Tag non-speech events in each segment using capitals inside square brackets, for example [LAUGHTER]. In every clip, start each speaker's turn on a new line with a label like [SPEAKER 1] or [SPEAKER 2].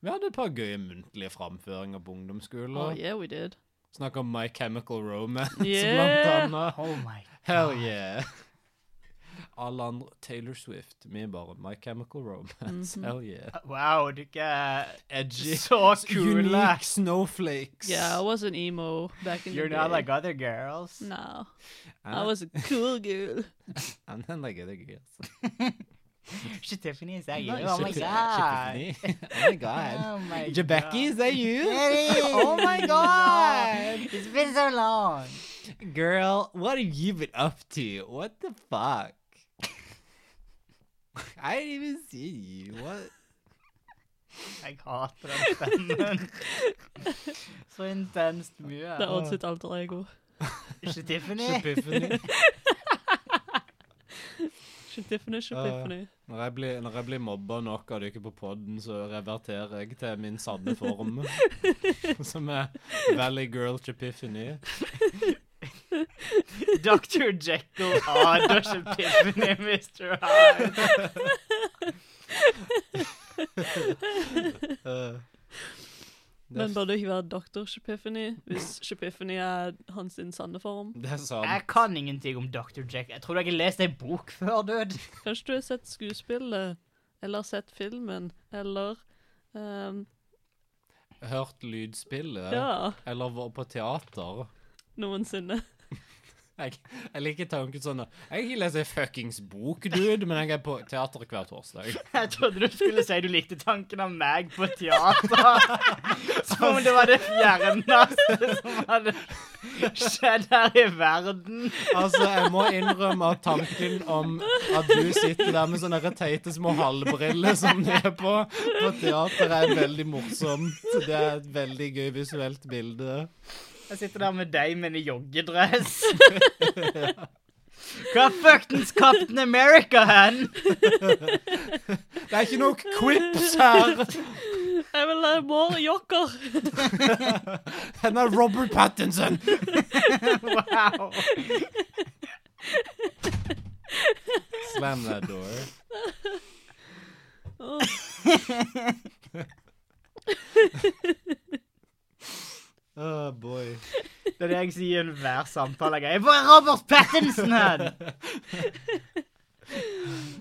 [SPEAKER 1] Vi hadde et par gøye muntlige framføringer på ungdomsskolen.
[SPEAKER 2] Oh, yeah, we did.
[SPEAKER 1] Snakka om My Chemical Romance,
[SPEAKER 2] Yeah.
[SPEAKER 1] blant annet.
[SPEAKER 3] Oh my
[SPEAKER 1] Hell yeah. Alle andre Taylor Swift, vi bare My Chemical Romance.
[SPEAKER 2] Mhm.
[SPEAKER 1] Hell yeah.
[SPEAKER 3] Wow, du er ikke
[SPEAKER 1] Edgy.
[SPEAKER 3] så kul.
[SPEAKER 1] Unique snowflakes.
[SPEAKER 2] Yeah, I was an emo back in
[SPEAKER 3] You're
[SPEAKER 2] the day.
[SPEAKER 3] not like other girls.
[SPEAKER 2] No, I
[SPEAKER 1] and,
[SPEAKER 2] was a cool
[SPEAKER 3] [LAUGHS]
[SPEAKER 2] girl.
[SPEAKER 1] and then like other girls.
[SPEAKER 3] She Tiffany, is that you?
[SPEAKER 1] Nice.
[SPEAKER 3] Oh my
[SPEAKER 1] Tiffany-
[SPEAKER 3] god.
[SPEAKER 1] Tiffany. Oh my god.
[SPEAKER 3] [LAUGHS] Oh my
[SPEAKER 1] Jebeki, is that you?
[SPEAKER 3] Hey,
[SPEAKER 1] [LAUGHS] oh my god.
[SPEAKER 3] It's been so long.
[SPEAKER 1] Girl, what have you been up to? What the [LAUGHS] fuck? I didn't even see you. What?
[SPEAKER 3] Jeg hater den stemmen. Så intenst mye.
[SPEAKER 2] Det er Odd sitt alter ego.
[SPEAKER 3] Ikke Tiffany?
[SPEAKER 1] Epiphany.
[SPEAKER 3] Oh,
[SPEAKER 2] Tiffany, ikke
[SPEAKER 1] Ja, ja.
[SPEAKER 2] Tiffany.
[SPEAKER 1] Når jeg blir, når jeg blir mobba nok av dere på podden, så reverterer jeg til min sanne [LAUGHS] form. som er Valley Girl Chapiphany.
[SPEAKER 3] Dr. Jekyll og Dr. Tiffany, Mr. Hyde.
[SPEAKER 1] Uh,
[SPEAKER 2] Men bør det ikke være Dr. Shipiphany, hvis Shipiphany er hans sin sanne form?
[SPEAKER 1] det er sånn,
[SPEAKER 3] Jeg
[SPEAKER 1] sant.
[SPEAKER 3] kan ingenting om Dr. Jekyll. Jeg tror du ikke har lest ei bok før, dude.
[SPEAKER 2] Kanskje du har sett skuespillet, eller sett filmen, eller ehm,
[SPEAKER 1] Hørt lydspillet.
[SPEAKER 2] Ja,
[SPEAKER 1] Eller vært på teater.
[SPEAKER 2] noensinne. [LAUGHS]
[SPEAKER 1] Jeg, jeg liker tanken sånn at- Jeg har ikke lest ei fuckings bok, dude, men jeg er på teater hver torsdag.
[SPEAKER 3] Jeg trodde du skulle si du likte tanken av meg på teater. Som om det var det fjerneste som hadde skjedd her i verden.
[SPEAKER 1] Altså, jeg må innrømme at tanken om at du sitter der med sånne teite små halvbriller som de er på på teater, er veldig morsomt. Det er et veldig gøy visuelt bilde.
[SPEAKER 3] Jeg sitter der med deg med en joggedress. Hva fuckings Captain America hen?
[SPEAKER 1] Det er ikke nok quips her!
[SPEAKER 2] Jeg vil ha more jokker!
[SPEAKER 1] Den er Robert Pattinson!
[SPEAKER 3] Wow.
[SPEAKER 1] Slam that door.
[SPEAKER 2] Åh.
[SPEAKER 1] Oh boy.
[SPEAKER 3] Det er det jeg sier i enhver samtale. Jeg er bare Robert Pattinson hen!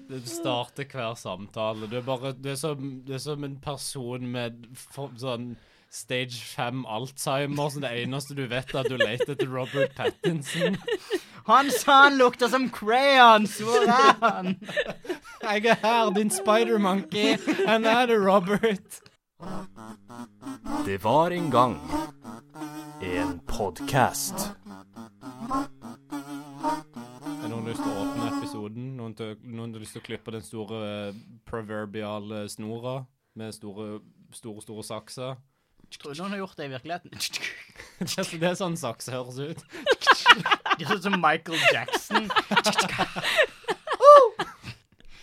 [SPEAKER 1] Du starter hver samtale. Du er bare Du er som, du er som en person med for, sånn stage 5 Alzheimer, som det eneste du vet, er at du leter etter Robert Pattinson.
[SPEAKER 3] Han sa han lukter som crayons. Hvor er han?
[SPEAKER 1] [LAUGHS] Jeg er her, din spider-monkey. Han er det, Robert.
[SPEAKER 4] Det var en gang en podkast.
[SPEAKER 1] Er noen lyst til å åpne episoden? Noen, til, noen har lyst til å klippe den store eh, proverbiale snora med store, store, store sakser?
[SPEAKER 3] Tror du noen har gjort det i virkeligheten?
[SPEAKER 1] Det er, så- [LAUGHS] det er sånn sakse høres ut.
[SPEAKER 3] Det ser ut som Michael Jackson.
[SPEAKER 1] [LAUGHS]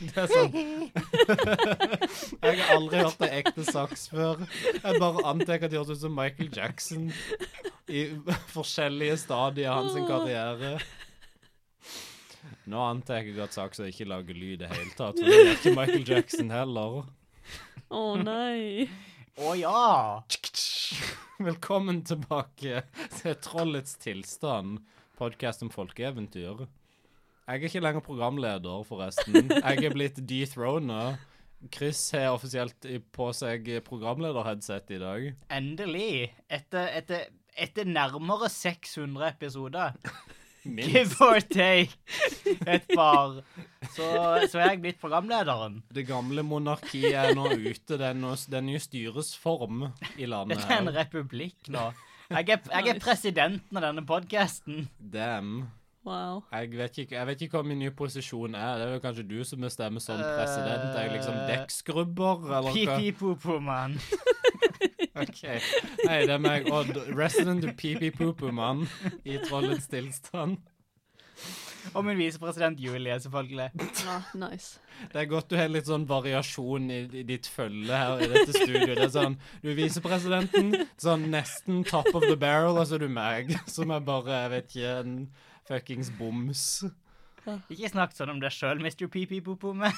[SPEAKER 1] Det er sånn. Jeg har aldri hørt en ekte saks før. Jeg bare antar at de høres ut som Michael Jackson i forskjellige stadier av hans karriere. Nå antar jeg at sakser ikke lager lyd i det hele tatt, for det gjør ikke Michael Jackson heller.
[SPEAKER 3] [LAUGHS]
[SPEAKER 2] Å nei.
[SPEAKER 3] Å ja.
[SPEAKER 1] [LAUGHS] Velkommen tilbake til Trollets tilstand, podkast om folkeeventyr. Jeg er ikke lenger programleder, forresten. Jeg er blitt dethrona. Chris har offisielt i- på seg programlederheadset i dag.
[SPEAKER 3] Endelig. Etter, etter, etter nærmere 600
[SPEAKER 1] [LAUGHS]
[SPEAKER 3] episoder, give
[SPEAKER 1] Minst.
[SPEAKER 3] or take et par, så, så er jeg blitt programlederen.
[SPEAKER 1] Det gamle monarkiet er nå ute. Det er nå- det er ny styresform i landet.
[SPEAKER 3] Dette er en
[SPEAKER 1] her.
[SPEAKER 3] republikk nå. Jeg er, jeg er
[SPEAKER 2] Nice.
[SPEAKER 3] presidenten av denne podkasten.
[SPEAKER 1] Damn.
[SPEAKER 2] Wow.
[SPEAKER 1] Jeg vet, ikke, jeg vet ikke hva min nye posisjon er. Det er vel kanskje du som bestemmer som president? Er jeg liksom dekkskrubber, eller hva?
[SPEAKER 3] Pipi-popo-mann.
[SPEAKER 1] Ok. Hei, det er meg, Odd. Resident Pipi-Popo-mann i Trollets tilstand.
[SPEAKER 3] Og min visepresident Julie, selvfølgelig.
[SPEAKER 2] Ja, nice.
[SPEAKER 1] Det er godt du har litt sånn variasjon i, i ditt følge her i dette studioet. Det er sånn, Du er visepresidenten, sånn nesten top of the barrel, og så er du meg, som er bare, jeg vet ikke, en fuckings boms.
[SPEAKER 3] Ikke snakk sånn om deg sjøl, Mr. Pipi-popo, men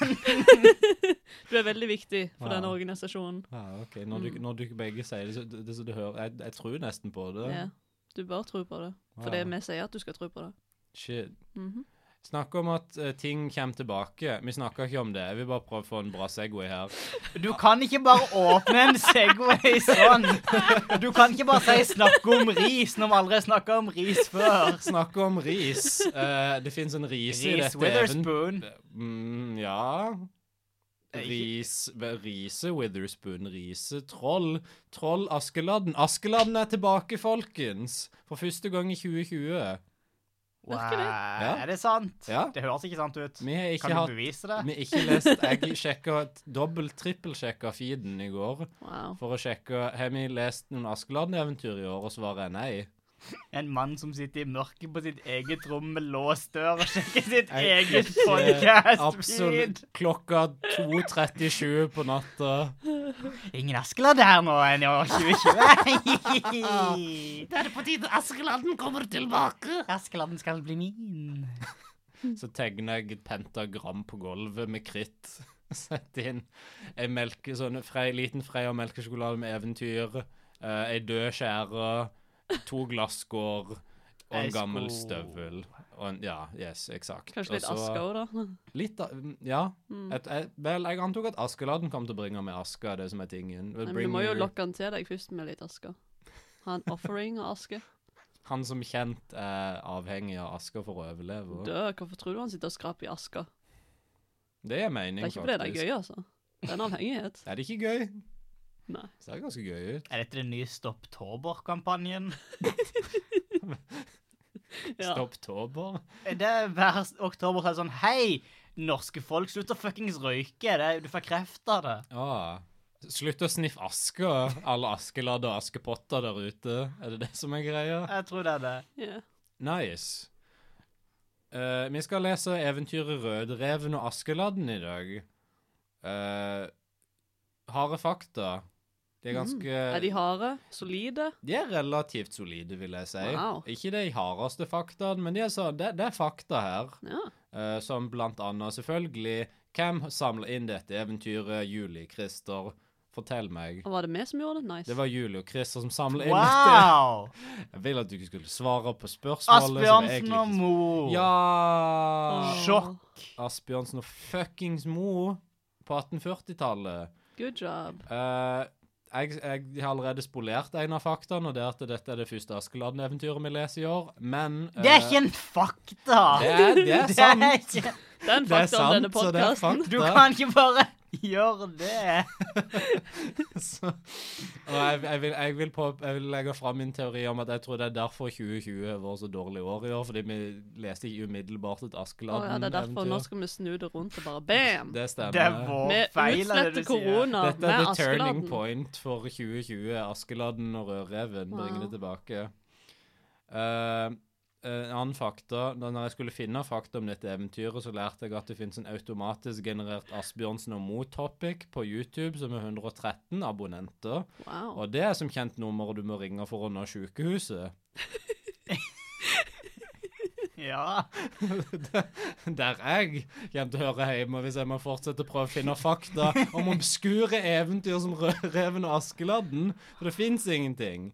[SPEAKER 2] Du er veldig viktig for
[SPEAKER 1] Ja.
[SPEAKER 2] denne organisasjonen.
[SPEAKER 1] Ja, ok. Når, du, når du begge sier det, så, det, så du hører jeg, jeg tror nesten på det.
[SPEAKER 2] Ja. Du bør tro på det. For det
[SPEAKER 1] Ja.
[SPEAKER 2] vi sier at du skal tro på det.
[SPEAKER 1] Shit.
[SPEAKER 2] Mhm.
[SPEAKER 1] Snakke om at eh, ting kommer tilbake. Vi snakker ikke om det. Jeg vil bare prøve å få en bra Segway her.
[SPEAKER 3] Du kan ikke bare åpne en Segway sånn. Du kan ikke bare si 'snakk om ris' når vi aldri har snakka om ris før.
[SPEAKER 1] Snakke om ris. Eh, det fins en ris i
[SPEAKER 3] Ris
[SPEAKER 1] dette even-
[SPEAKER 3] Witherspoon.
[SPEAKER 1] Mm, ja.
[SPEAKER 3] Eh, ikke-
[SPEAKER 1] Ris, rise Witherspoon, rise Troll. Troll Askeladden. Askeladden er tilbake, folkens! For første gang i 2020.
[SPEAKER 3] Wow.
[SPEAKER 2] Virker det?
[SPEAKER 1] Ja.
[SPEAKER 3] Er det sant?
[SPEAKER 1] Ja.
[SPEAKER 3] Det høres ikke sant ut.
[SPEAKER 1] Vi har ikke
[SPEAKER 3] Kan du
[SPEAKER 1] hatt
[SPEAKER 3] bevise det?
[SPEAKER 1] Vi har ikke lest Jeg sjekka dobbelt-trippelsjekka feeden i går
[SPEAKER 2] Wow.
[SPEAKER 1] for å sjekke Har vi lest noen Askeladden-eventyr i år, og svaret er nei.
[SPEAKER 3] En mann som sitter i mørket på sitt eget rom med låst dør og sjekker sitt
[SPEAKER 1] Jeg-
[SPEAKER 3] eget
[SPEAKER 1] Eh,
[SPEAKER 3] podcast-feed.
[SPEAKER 1] Absolutt. Klokka 2.37 på natta.
[SPEAKER 3] Ingen Askeland her nå enn i år
[SPEAKER 1] [LAUGHS]
[SPEAKER 3] 2020. Da er det på tide Askeladden kommer tilbake. Askeladden skal bli min.
[SPEAKER 1] Så tegner jeg et pentagram på gulvet med kritt. [LAUGHS] Sett inn ei melke, sånn frei, liten Freia melkesjokolade med eventyr, eh, ei død skjære, to glasskår og
[SPEAKER 3] Ei
[SPEAKER 1] en gammel
[SPEAKER 3] sko.
[SPEAKER 1] støvel. Og en, ja, yes, eksakt.
[SPEAKER 2] Kanskje litt
[SPEAKER 1] Og [LAUGHS] så-
[SPEAKER 2] aske òg, da.
[SPEAKER 1] Litt a- mm, ja. Et, et, vel, jeg antok at Askeladden kom til å bringe med aska, det som er tingen. Will
[SPEAKER 2] Nei, men
[SPEAKER 1] bring
[SPEAKER 2] du må jo
[SPEAKER 1] you-
[SPEAKER 2] lokke han til deg først med litt aske. Ha en offering av
[SPEAKER 1] [LAUGHS]
[SPEAKER 2] aske.
[SPEAKER 1] Han som kjent er avhengig av aska for å overleve.
[SPEAKER 2] Dø, hvorfor tror du han sitter og skraper i aska?
[SPEAKER 1] Det er
[SPEAKER 2] Det
[SPEAKER 1] mening,
[SPEAKER 2] er
[SPEAKER 1] faktisk.
[SPEAKER 2] ikke fordi det er gøy, altså. Det er en
[SPEAKER 1] [LAUGHS]
[SPEAKER 2] avhengighet.
[SPEAKER 1] Er det ikke gøy?
[SPEAKER 2] Nei.
[SPEAKER 1] Det ser ganske gøy ut.
[SPEAKER 3] Er dette den nye Stopp Tober-kampanjen?
[SPEAKER 2] Ja.
[SPEAKER 1] Stopp Tober.
[SPEAKER 3] Det er hver oktober så er det sånn Hei, norske folk, slutt å fuckings røyke. Det, du får kreft av det.
[SPEAKER 1] Ah. Slutt å sniffe aske, alle askeladd og askepotter der ute. Er det det som er greia?
[SPEAKER 3] Jeg tror det er det.
[SPEAKER 2] Ja.
[SPEAKER 1] Nice. Eh, vi skal lese eventyret Rødreven og Askeladden i dag. Eh, harde fakta. De er ganske
[SPEAKER 2] Er Mm. de harde? Solide?
[SPEAKER 1] De er relativt solide, vil jeg si.
[SPEAKER 2] Wow.
[SPEAKER 1] Ikke de hardeste faktaene, men de er så, det, det er fakta her.
[SPEAKER 2] Ja.
[SPEAKER 1] Eh, som blant annet selvfølgelig Hvem samla inn dette eventyret? Juli, Christer. Fortell meg.
[SPEAKER 2] Og var det vi som gjorde det? Nice.
[SPEAKER 1] Det var Juli og Christer som samla inn dette.
[SPEAKER 3] Wow!
[SPEAKER 1] Jeg vil at du ikke skulle svare på spørsmålet. som jeg
[SPEAKER 3] Asbjørnsen og
[SPEAKER 1] ikke-
[SPEAKER 3] Mo.
[SPEAKER 1] Ja
[SPEAKER 2] Åh.
[SPEAKER 3] Sjokk.
[SPEAKER 1] Asbjørnsen og fuckings Mo på 1840-tallet.
[SPEAKER 2] Good job.
[SPEAKER 1] Eh, jeg, jeg har allerede spolert en av faktaene, og det er at dette er det første Askeladden-eventyret vi leser i år, men
[SPEAKER 3] Det er
[SPEAKER 1] eh,
[SPEAKER 3] ikke en fakta.
[SPEAKER 1] Det er, det er sant.
[SPEAKER 3] [LAUGHS] Det er ikke...
[SPEAKER 2] Den
[SPEAKER 1] [LAUGHS] Det er
[SPEAKER 2] fakta om
[SPEAKER 1] sant,
[SPEAKER 2] denne
[SPEAKER 1] så det
[SPEAKER 2] [LAUGHS]
[SPEAKER 1] er
[SPEAKER 2] podkasten.
[SPEAKER 1] fakta.
[SPEAKER 3] Du kan ikke bare gjøre det.
[SPEAKER 1] Så, og jeg, jeg, vil, jeg, vil på, jeg vil legge fram min teori om at jeg tror det er derfor 2020 var så dårlig år i år, fordi vi leste ikke umiddelbart et
[SPEAKER 2] Å ja, det er derfor nå
[SPEAKER 1] Askeladden-eventyr.
[SPEAKER 2] skal vi snu det rundt og bare bam!
[SPEAKER 1] Det
[SPEAKER 3] Det er
[SPEAKER 1] stemmer.
[SPEAKER 3] vår
[SPEAKER 2] Vi
[SPEAKER 3] feil, er det
[SPEAKER 2] utsletter
[SPEAKER 3] du sier.
[SPEAKER 2] korona
[SPEAKER 1] Dette er
[SPEAKER 2] med
[SPEAKER 1] the turning
[SPEAKER 2] Askeladden.
[SPEAKER 1] point for 2020. Askeladden og Rødreven
[SPEAKER 2] Wow.
[SPEAKER 1] bringer det tilbake. Eh, en annen fakta da når jeg skulle finne fakta om dette eventyret, så lærte jeg at det finnes en automatisk generert Asbjørnsen og Moe-topic på YouTube som er 113 abonnenter.
[SPEAKER 2] Wow.
[SPEAKER 1] Og det er som kjent nummeret du må ringe for å nå sykehuset. [LAUGHS]
[SPEAKER 3] Ja.
[SPEAKER 1] Der jeg kommer til å høre hjemme hvis jeg må fortsette å prøve å finne fakta om obskure eventyr som Rødreven og Askeladden. For det fins ingenting.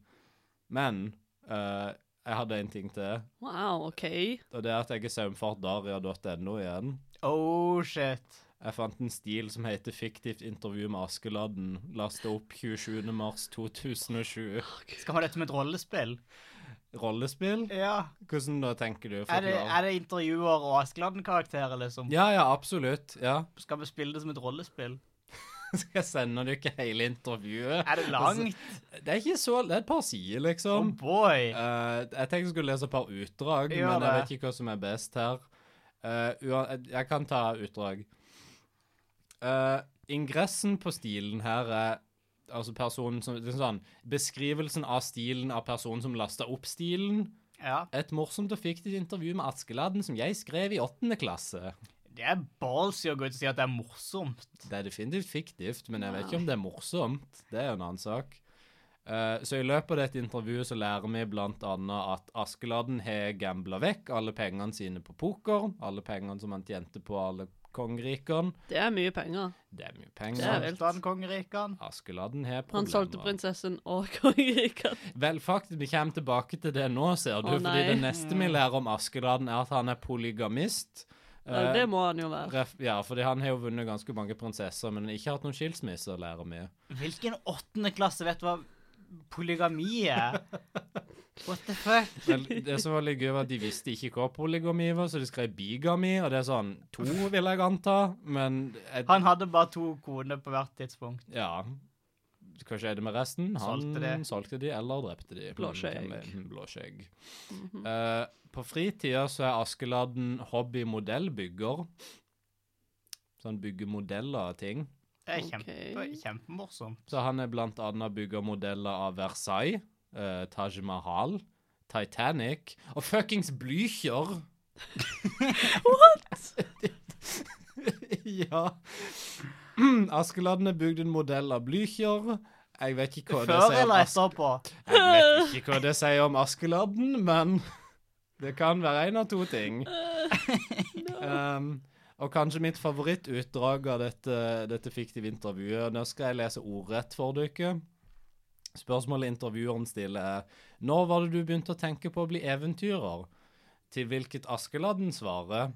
[SPEAKER 1] Men eh, jeg hadde en ting til.
[SPEAKER 2] wow, OK.
[SPEAKER 1] Og det er at jeg er saumfartdaria.no igjen.
[SPEAKER 3] Oh, shit.
[SPEAKER 1] Jeg fant en stil som heter 'Fiktivt intervju med Askeladden'. Lasta opp 27. mars 2020.
[SPEAKER 3] Skal man dette med et rollespill?
[SPEAKER 1] Rollespill?
[SPEAKER 3] Ja.
[SPEAKER 1] Hvordan da, tenker du?
[SPEAKER 3] Er det,
[SPEAKER 1] Forklar.
[SPEAKER 3] er det intervjuer og Askeladden-karakterer, liksom?
[SPEAKER 1] Ja, ja, absolutt. Ja.
[SPEAKER 3] Skal vi spille det som et rollespill?
[SPEAKER 1] [LAUGHS] Skal jeg sende deg ikke hele intervjuet?
[SPEAKER 3] Er det langt?
[SPEAKER 1] Det er ikke så Det er et par sider,
[SPEAKER 3] Oh
[SPEAKER 1] liksom.
[SPEAKER 3] boy.
[SPEAKER 1] Eh, jeg tenkte jeg skulle lese et par utdrag, men
[SPEAKER 3] Gjør
[SPEAKER 1] jeg
[SPEAKER 3] det.
[SPEAKER 1] vet ikke hva som er best her. Eh, ua- jeg kan ta utdrag. Eh, ingressen på stilen her er Altså personen som det er sånn, Beskrivelsen av stilen av personen som lasta opp stilen.
[SPEAKER 3] Ja.
[SPEAKER 1] Et morsomt og fiktivt intervju med Askeladden som jeg skrev i åttende klasse.
[SPEAKER 3] Det er ballsy å gå ut og si at det er morsomt.
[SPEAKER 1] Det er definitivt fiktivt, men jeg vet ikke om det er morsomt. Det er jo en annen sak. Eh, så i løpet av dette intervjuet så lærer vi blant annet at Askeladden har gambla vekk alle pengene sine på poker, alle pengene som han tjente på alle kongerikene.
[SPEAKER 2] Det er mye penger.
[SPEAKER 1] Det er mye
[SPEAKER 2] Det er
[SPEAKER 1] penger.
[SPEAKER 2] vel-
[SPEAKER 3] Solgte han kongerikene?
[SPEAKER 1] Askeladden har
[SPEAKER 2] Han
[SPEAKER 1] problemer.
[SPEAKER 2] solgte prinsessen og [LAUGHS] kongeriket.
[SPEAKER 1] Vel, faktisk, vi kommer tilbake til det nå, ser du.
[SPEAKER 2] Å,
[SPEAKER 1] fordi det
[SPEAKER 2] nei.
[SPEAKER 1] neste vi lærer om Askeladden, er at han er polygamist.
[SPEAKER 2] Ja,
[SPEAKER 1] Eh,
[SPEAKER 2] det må han jo være.
[SPEAKER 1] ref, ja, fordi han har jo vunnet ganske mange prinsesser, men ikke hatt noen skilsmisser, lærer vi.
[SPEAKER 3] Hvilken åttende klasse vet hva polygami er? What the fuck?
[SPEAKER 1] Men det som var litt gøy, var at de visste ikke hva polygami var, så de skrev bigami, og det er sånn to, vil jeg anta, men et,
[SPEAKER 3] Han hadde bare to koner på hvert tidspunkt.
[SPEAKER 1] Ja. Hva skjedde med resten? Han
[SPEAKER 3] Solgte
[SPEAKER 1] solgte
[SPEAKER 3] de.
[SPEAKER 1] de, eller drepte de.
[SPEAKER 2] Blåskjegg.
[SPEAKER 1] Mm, hvem vet? Mm, Blåskjegg. Eh, på fritida så er Askeladden hobbymodellbygger. Så han bygger modeller av ting.
[SPEAKER 3] Det er kjempe,
[SPEAKER 2] Ok.
[SPEAKER 3] kjempemorsomt.
[SPEAKER 1] Så han er blant annet bygger modeller av Versailles, eh, Taj Mahal, Titanic og fuckings Blücher. What?! [LAUGHS] ja. [CLEARS THROAT] Askeladden har bygd en modell av Blücher. Jeg vet ikke hva det
[SPEAKER 3] Før
[SPEAKER 1] sier om
[SPEAKER 3] eller
[SPEAKER 1] Aske-
[SPEAKER 3] etterpå?
[SPEAKER 1] Jeg vet ikke hva det sier om Askeladden, men [LAUGHS] det kan være en av to ting. Um, og kanskje mitt favorittutdrag av dette, dette fiktive intervjuet. Nå skal jeg lese ordrett for dere. Spørsmålet intervjueren stiller er Når var det du begynte å tenke på å bli eventyrer? Til hvilket Askeladden svarer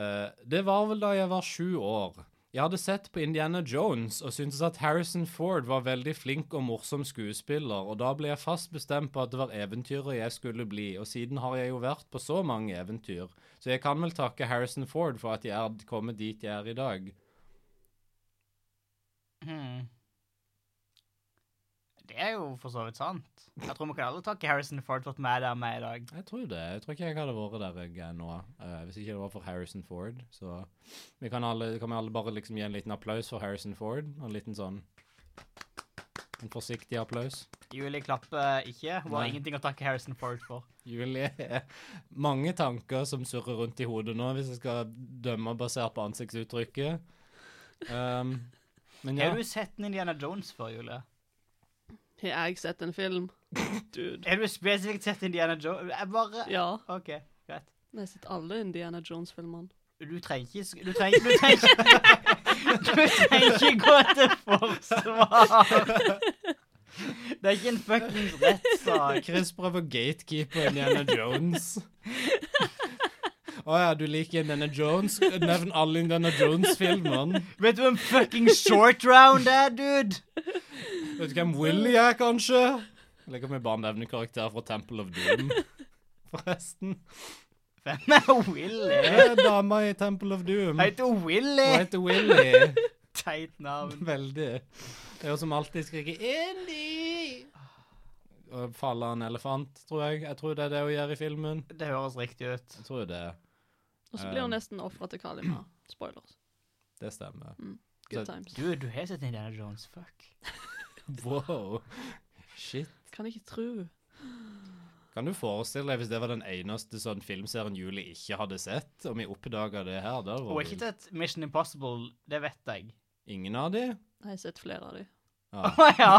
[SPEAKER 1] «Eh, Det var vel da jeg var sju år. Jeg hadde sett på Indiana Jones og syntes at Harrison Ford var veldig flink og morsom skuespiller, og da ble jeg fast bestemt på at det var eventyrer jeg skulle bli, og siden har jeg jo vært på så mange eventyr, så jeg kan vel takke Harrison Ford for at jeg er kommet dit jeg er i dag.
[SPEAKER 3] Hmm. Det er jo for så vidt sant. Jeg tror vi kan alle takke Harrison Ford for at vi er der vi er i dag.
[SPEAKER 1] Jeg tror det. Jeg tror ikke jeg hadde vært der jeg er nå, eh, hvis ikke det var for Harrison Ford. Så vi kan alle, kan vi alle bare liksom gi en liten applaus for Harrison Ford, og en liten sånn En forsiktig applaus.
[SPEAKER 3] Julie klapper ikke. Hun
[SPEAKER 1] Nei.
[SPEAKER 3] har ingenting å takke Harrison Ford for.
[SPEAKER 1] Julie [LAUGHS] er mange tanker som surrer rundt i hodet nå, hvis jeg skal dømme basert på ansiktsuttrykket. Um, men ja.
[SPEAKER 3] Har du sett en Indiana Jones før, Julie?
[SPEAKER 2] Har jeg sett en film? Dude.
[SPEAKER 3] Har du spesifikt sett Indiana Jones? Jeg bare
[SPEAKER 2] Ja.
[SPEAKER 3] OK, greit.
[SPEAKER 2] Jeg har sett alle Indiana Jones-filmene.
[SPEAKER 3] Du trenger ikke [LAUGHS] sk- Du trenger, du trenger, du trenger ikke gå til forsvar. Det er ikke en fuckings rettssak.
[SPEAKER 1] Chris prøver å gatekeepe Indiana Jones. Å ja, du liker Indiana Jones? Nevn alle Indiana Jones-filmene.
[SPEAKER 3] Vet du hvem fucking short round er, dude?
[SPEAKER 1] Vet du hvem Willy er, kanskje? Eller kan vi bare nevne karakterer fra Temple of Doom? Forresten.
[SPEAKER 3] Hvem er Willy?
[SPEAKER 1] Det er dama i Temple of Doom.
[SPEAKER 3] Han
[SPEAKER 1] Hun
[SPEAKER 3] heter Willy.
[SPEAKER 1] heter Willy.
[SPEAKER 3] Teit navn.
[SPEAKER 1] Veldig. Det er jo som alltid skriker 'Indy'! Og faller en elefant, tror jeg. Jeg tror det er det hun gjør i filmen.
[SPEAKER 3] Det høres riktig ut.
[SPEAKER 1] Jeg tror det.
[SPEAKER 2] Og så blir hun
[SPEAKER 1] Eh.
[SPEAKER 2] nesten ofra til Kalima. Spoilers.
[SPEAKER 1] Det stemmer.
[SPEAKER 2] Good
[SPEAKER 1] Så-
[SPEAKER 2] times.
[SPEAKER 3] Dude, du har sett Indiana Jones, fuck.
[SPEAKER 1] Wow. Shit.
[SPEAKER 2] Kan ikke tro.
[SPEAKER 1] Kan du forestille deg hvis det var den eneste sånn filmserien Julie ikke hadde sett, og vi oppdaga det her? Da
[SPEAKER 3] Hun
[SPEAKER 1] var
[SPEAKER 3] har ikke
[SPEAKER 1] det
[SPEAKER 3] sett Mission Impossible, det vet jeg.
[SPEAKER 1] ingen av
[SPEAKER 3] [LAUGHS]
[SPEAKER 1] de?
[SPEAKER 2] Jeg har sett flere av dem.
[SPEAKER 1] Ja.
[SPEAKER 3] Å ja.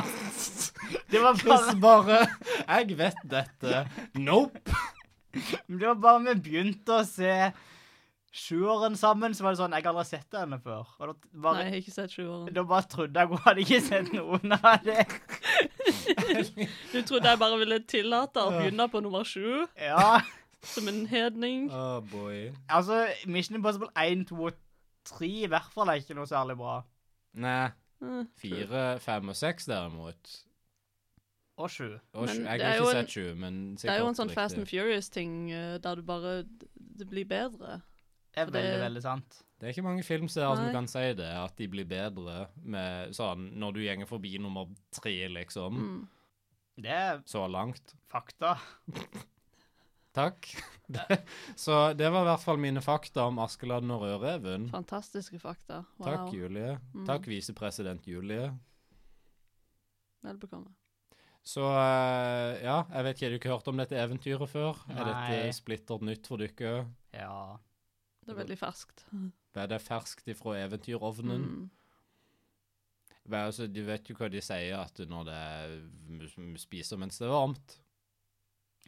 [SPEAKER 3] Det var bare
[SPEAKER 1] Chris bare 'Jeg vet dette'. Nope.
[SPEAKER 3] Det var bare vi begynte å se sjueren sammen, så var det sånn Jeg har aldri sett henne før. Og da,
[SPEAKER 2] Nei,
[SPEAKER 3] bare,
[SPEAKER 2] jeg har ikke sett sjueren.
[SPEAKER 3] da bare trodde jeg hun hadde ikke sett noen av det.
[SPEAKER 2] Du trodde jeg bare ville tillate å begynne på nummer sju,
[SPEAKER 3] Ja,
[SPEAKER 2] som en hedning?
[SPEAKER 1] Oh boy.
[SPEAKER 3] altså Mission Impossible 1, 2 og 3 i hvert fall er ikke noe særlig bra.
[SPEAKER 1] Nei.
[SPEAKER 2] Eh,
[SPEAKER 1] Fire, fem og seks, derimot.
[SPEAKER 3] Og sju.
[SPEAKER 1] Og
[SPEAKER 2] Men
[SPEAKER 1] sju- jeg
[SPEAKER 2] det
[SPEAKER 1] har
[SPEAKER 2] er
[SPEAKER 1] ikke
[SPEAKER 2] jo en-
[SPEAKER 1] sett sju, men sikkert
[SPEAKER 2] Det er jo en sånn
[SPEAKER 1] riktig.
[SPEAKER 2] Fast and Furious-ting eh, der du bare Det blir bedre.
[SPEAKER 3] Det er
[SPEAKER 2] For det-
[SPEAKER 3] veldig, veldig sant.
[SPEAKER 1] Det er ikke mange filmseere som
[SPEAKER 2] Nei.
[SPEAKER 1] kan si det, at de blir bedre med sånn når du gjenger forbi nummer tre, liksom.
[SPEAKER 2] Mm.
[SPEAKER 3] Det er
[SPEAKER 1] Så langt.
[SPEAKER 3] fakta.
[SPEAKER 1] Takk. [LAUGHS] Det- Så det var i hvert fall mine fakta om Askeladden og Rødreven.
[SPEAKER 2] Fantastiske fakta. Wow.
[SPEAKER 1] Takk, Julie.
[SPEAKER 2] Mm.
[SPEAKER 1] Takk, visepresident Julie.
[SPEAKER 2] Vel bekomme.
[SPEAKER 1] Så eh, ja, jeg vet ikke, har du ikke hørt om dette eventyret før? Er
[SPEAKER 3] Nei.
[SPEAKER 1] dette splittert nytt for dere?
[SPEAKER 3] Ja.
[SPEAKER 2] Det er veldig ferskt.
[SPEAKER 1] Mm. Er det ferskt ifra eventyrovnen?
[SPEAKER 2] Mm.
[SPEAKER 1] Men altså, du vet jo hva de sier at når det er m- m- spiser mens det er varmt.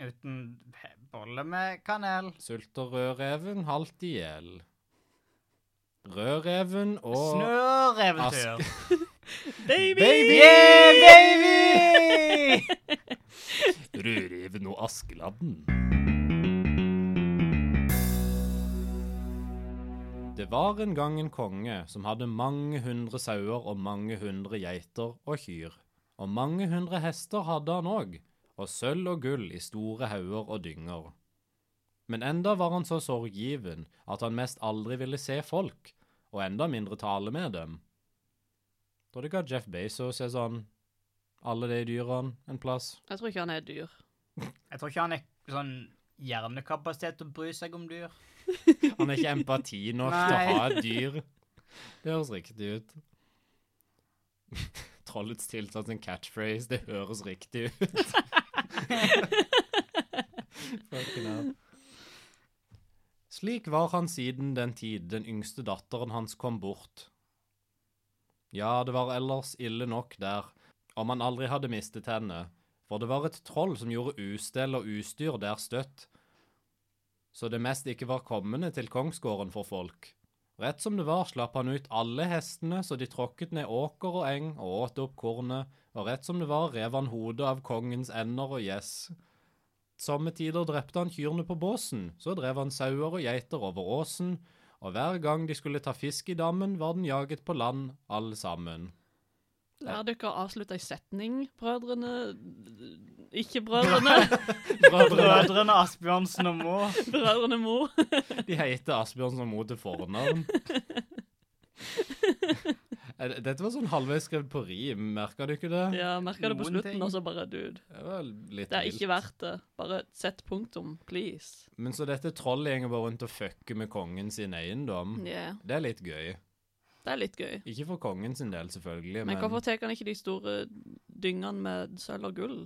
[SPEAKER 3] Uten pe- bolle med kanel.
[SPEAKER 1] Sulter rødreven halvt i hjel. Rødreven og
[SPEAKER 3] Snøreventyr.
[SPEAKER 2] Baby!
[SPEAKER 1] Baby!
[SPEAKER 3] Yeah, baby!
[SPEAKER 4] Rødreven og Askeladden.
[SPEAKER 1] Det var en gang en konge som hadde mange hundre sauer og mange hundre geiter og kyr. Og mange hundre hester hadde han òg, og sølv og gull i store hauger og dynger. Men enda var han så sorggiven at han mest aldri ville se folk, og enda mindre tale med dem. Da det ga Jeff Bezos er sånn Alle de dyrene en plass.
[SPEAKER 2] Jeg tror ikke han er dyr.
[SPEAKER 3] Jeg tror ikke han er sånn hjernekapasitet til å bry seg om dyr.
[SPEAKER 1] Han er ikke empati nok til
[SPEAKER 3] Nei.
[SPEAKER 1] å ha et dyr. Det høres riktig ut. [LAUGHS] Trollets tilstand sin catchphrase, det høres riktig ut. Fucking hell. Slik var han siden den tid den yngste datteren hans kom bort. Ja, det var ellers ille nok der, om han aldri hadde mistet henne, for det var et troll som gjorde ustell og ustyr der støtt, så det mest ikke var kommende til kongsgården for folk. Rett som det var slapp han ut alle hestene, så de tråkket ned åker og eng og åt opp kornet, og rett som det var rev han hodet av kongens ender og gjess. Samme tider drepte han kyrne på båsen, så drev han sauer og geiter over åsen, og hver gang de skulle ta fisk i dammen, var den jaget på land, alle sammen.
[SPEAKER 2] Lær dere å avslutte ei setning, brødrene Ikke brødrene.
[SPEAKER 3] Brødrene Asbjørnsen og Mo.
[SPEAKER 2] [LAUGHS] brødrene Mo.
[SPEAKER 1] De heter Asbjørn som mot til
[SPEAKER 2] [LAUGHS]
[SPEAKER 1] fornavn. Eh, Dette var sånn halvveis skrevet på rim, merka du ikke det?
[SPEAKER 2] Ja, merka det på
[SPEAKER 3] Noen
[SPEAKER 2] slutten,
[SPEAKER 3] ting.
[SPEAKER 2] og så bare dude.
[SPEAKER 1] Det var litt
[SPEAKER 2] Det er
[SPEAKER 1] vilt.
[SPEAKER 2] ikke verdt det. Bare sett punktum, please.
[SPEAKER 1] Men så dette trollet gjenger bare rundt og fucker med kongen sin eiendom.
[SPEAKER 2] Yeah.
[SPEAKER 1] Det er litt gøy.
[SPEAKER 2] Det er litt gøy.
[SPEAKER 1] Ikke for kongen sin del, selvfølgelig,
[SPEAKER 2] Men
[SPEAKER 1] men,
[SPEAKER 2] hvorfor tar han ikke de store dyngene med sølv og gull?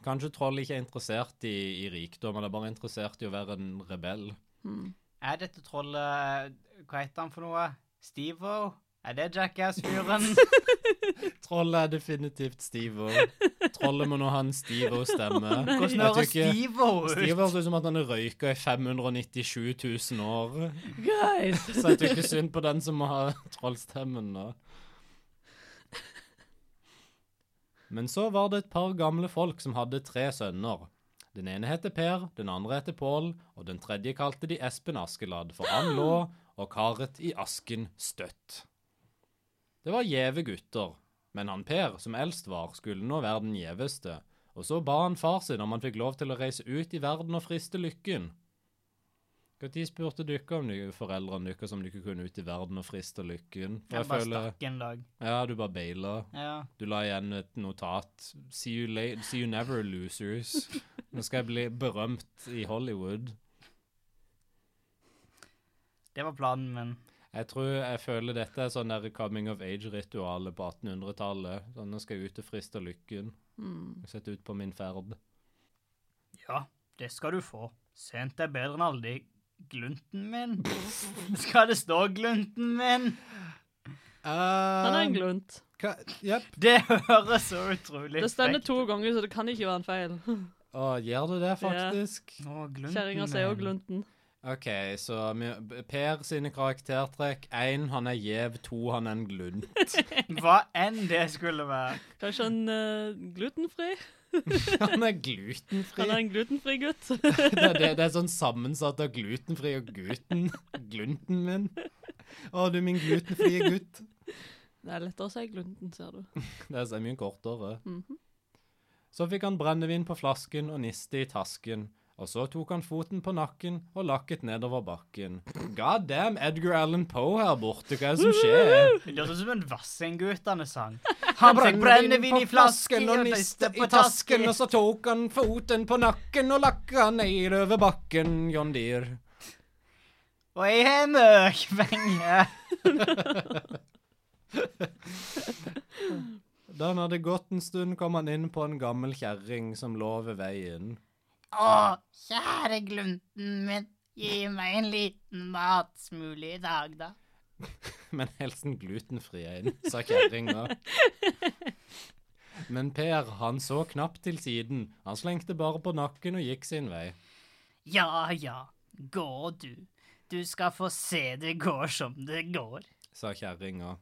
[SPEAKER 1] kanskje trollet ikke er interessert i, i rikdom, han er bare interessert i å være en rebell.
[SPEAKER 2] Hmm.
[SPEAKER 3] Er dette trollet eh, Hva heter han for noe? Steve-O? Er det Jackass-fyren?
[SPEAKER 1] Trollet er definitivt
[SPEAKER 2] [LAUGHS]
[SPEAKER 1] Stivo. Trollet må nå ha en Stivo-stemme.
[SPEAKER 3] Hvordan
[SPEAKER 1] Jeg tror
[SPEAKER 3] høres
[SPEAKER 1] ikke-
[SPEAKER 3] Steve-O ut?
[SPEAKER 1] Stivo høres ut som at han har røyka i 597 000 år.
[SPEAKER 2] [LAUGHS] Guys!
[SPEAKER 1] Så jeg tror ikke synd på den som må ha [LAUGHS] trollstemmen da. Men så var det et par gamle folk som hadde tre sønner. Den ene heter Per, den andre heter Pål, og den tredje kalte de Espen Askeladd, for han lå og karet i asken støtt. Det var gjeve gutter, men han Per, som eldst var, skulle nå være den gjeveste, og så ba han far sin om han fikk lov til å reise ut i verden og friste lykken. Når spurte dere om dere foreldrene deres om dere kunne ut i verden og friste lykken? For
[SPEAKER 3] Jeg
[SPEAKER 1] jeg
[SPEAKER 3] bare
[SPEAKER 1] føler
[SPEAKER 3] stakk en dag.
[SPEAKER 1] Ja, du bare baila.
[SPEAKER 3] Ja.
[SPEAKER 1] Du la igjen et notat. See you, la- see you never, losers. Nå skal jeg bli berømt i Hollywood.
[SPEAKER 3] Det var planen min.
[SPEAKER 1] Jeg tror jeg føler dette er sånn der coming of age-ritualet på 1800-tallet. Sånn, nå skal jeg ut og friste lykken.
[SPEAKER 2] Hmm.
[SPEAKER 1] Sett ut på min ferd.
[SPEAKER 3] Ja, det skal du få. Sent er bedre enn aldri. Glunten min?
[SPEAKER 2] [LAUGHS]
[SPEAKER 3] Skal det stå glunten min?
[SPEAKER 5] Ah,
[SPEAKER 2] Han er en glunt.
[SPEAKER 1] Jepp.
[SPEAKER 3] Det høres så utrolig
[SPEAKER 2] Det stender
[SPEAKER 3] frekt.
[SPEAKER 2] to ganger, så det kan ikke være en feil.
[SPEAKER 1] Å, gjør det det, faktisk?
[SPEAKER 3] Å, glunten
[SPEAKER 2] Kjerringa sier jo
[SPEAKER 3] min.
[SPEAKER 2] glunten.
[SPEAKER 1] OK, så mi- Per sine karaktertrekk. Én, han er gjev. To, han er en glund. [LAUGHS]
[SPEAKER 3] Hva enn det skulle være.
[SPEAKER 2] Kanskje han er glutenfri?
[SPEAKER 1] Han er glutenfri.
[SPEAKER 2] Han er en glutenfri gutt. [LAUGHS]
[SPEAKER 1] det, er- det, det er sånn sammensatt av glutenfri og gluten. Glunten min. Å, du min glutenfrie gutt.
[SPEAKER 2] Det er lettere å si glunten, ser du.
[SPEAKER 1] Det er så mye kortere.
[SPEAKER 2] Mhm.
[SPEAKER 1] Så fikk han brennevin på flasken og niste i tasken. Og så tok han foten på nakken og lakket nedover bakken. God damn, Edgar Allan Poe her borte, hva er det som skjer?
[SPEAKER 3] Det hørtes ut som en Vassendgutane sang. Han fikk brennevin i flasken og niste på tasken.
[SPEAKER 1] og så tok han foten på nakken og lakka nedover bakken, John Deere.
[SPEAKER 3] Og jeg har møkpenge.
[SPEAKER 1] Da han hadde gått en stund, kom han inn på en gammel kjerring som lå ved veien.
[SPEAKER 3] Å, kjære glunten min, gi meg en liten matsmule i dag, da.
[SPEAKER 1] [LAUGHS] Men helsen glutenfri er inn, sa kjerringa. Men Per, han så knapt til siden. Han slengte bare på nakken og gikk sin vei.
[SPEAKER 3] Ja ja, går du. Du skal få se det går som det går.
[SPEAKER 1] sa kjerringa.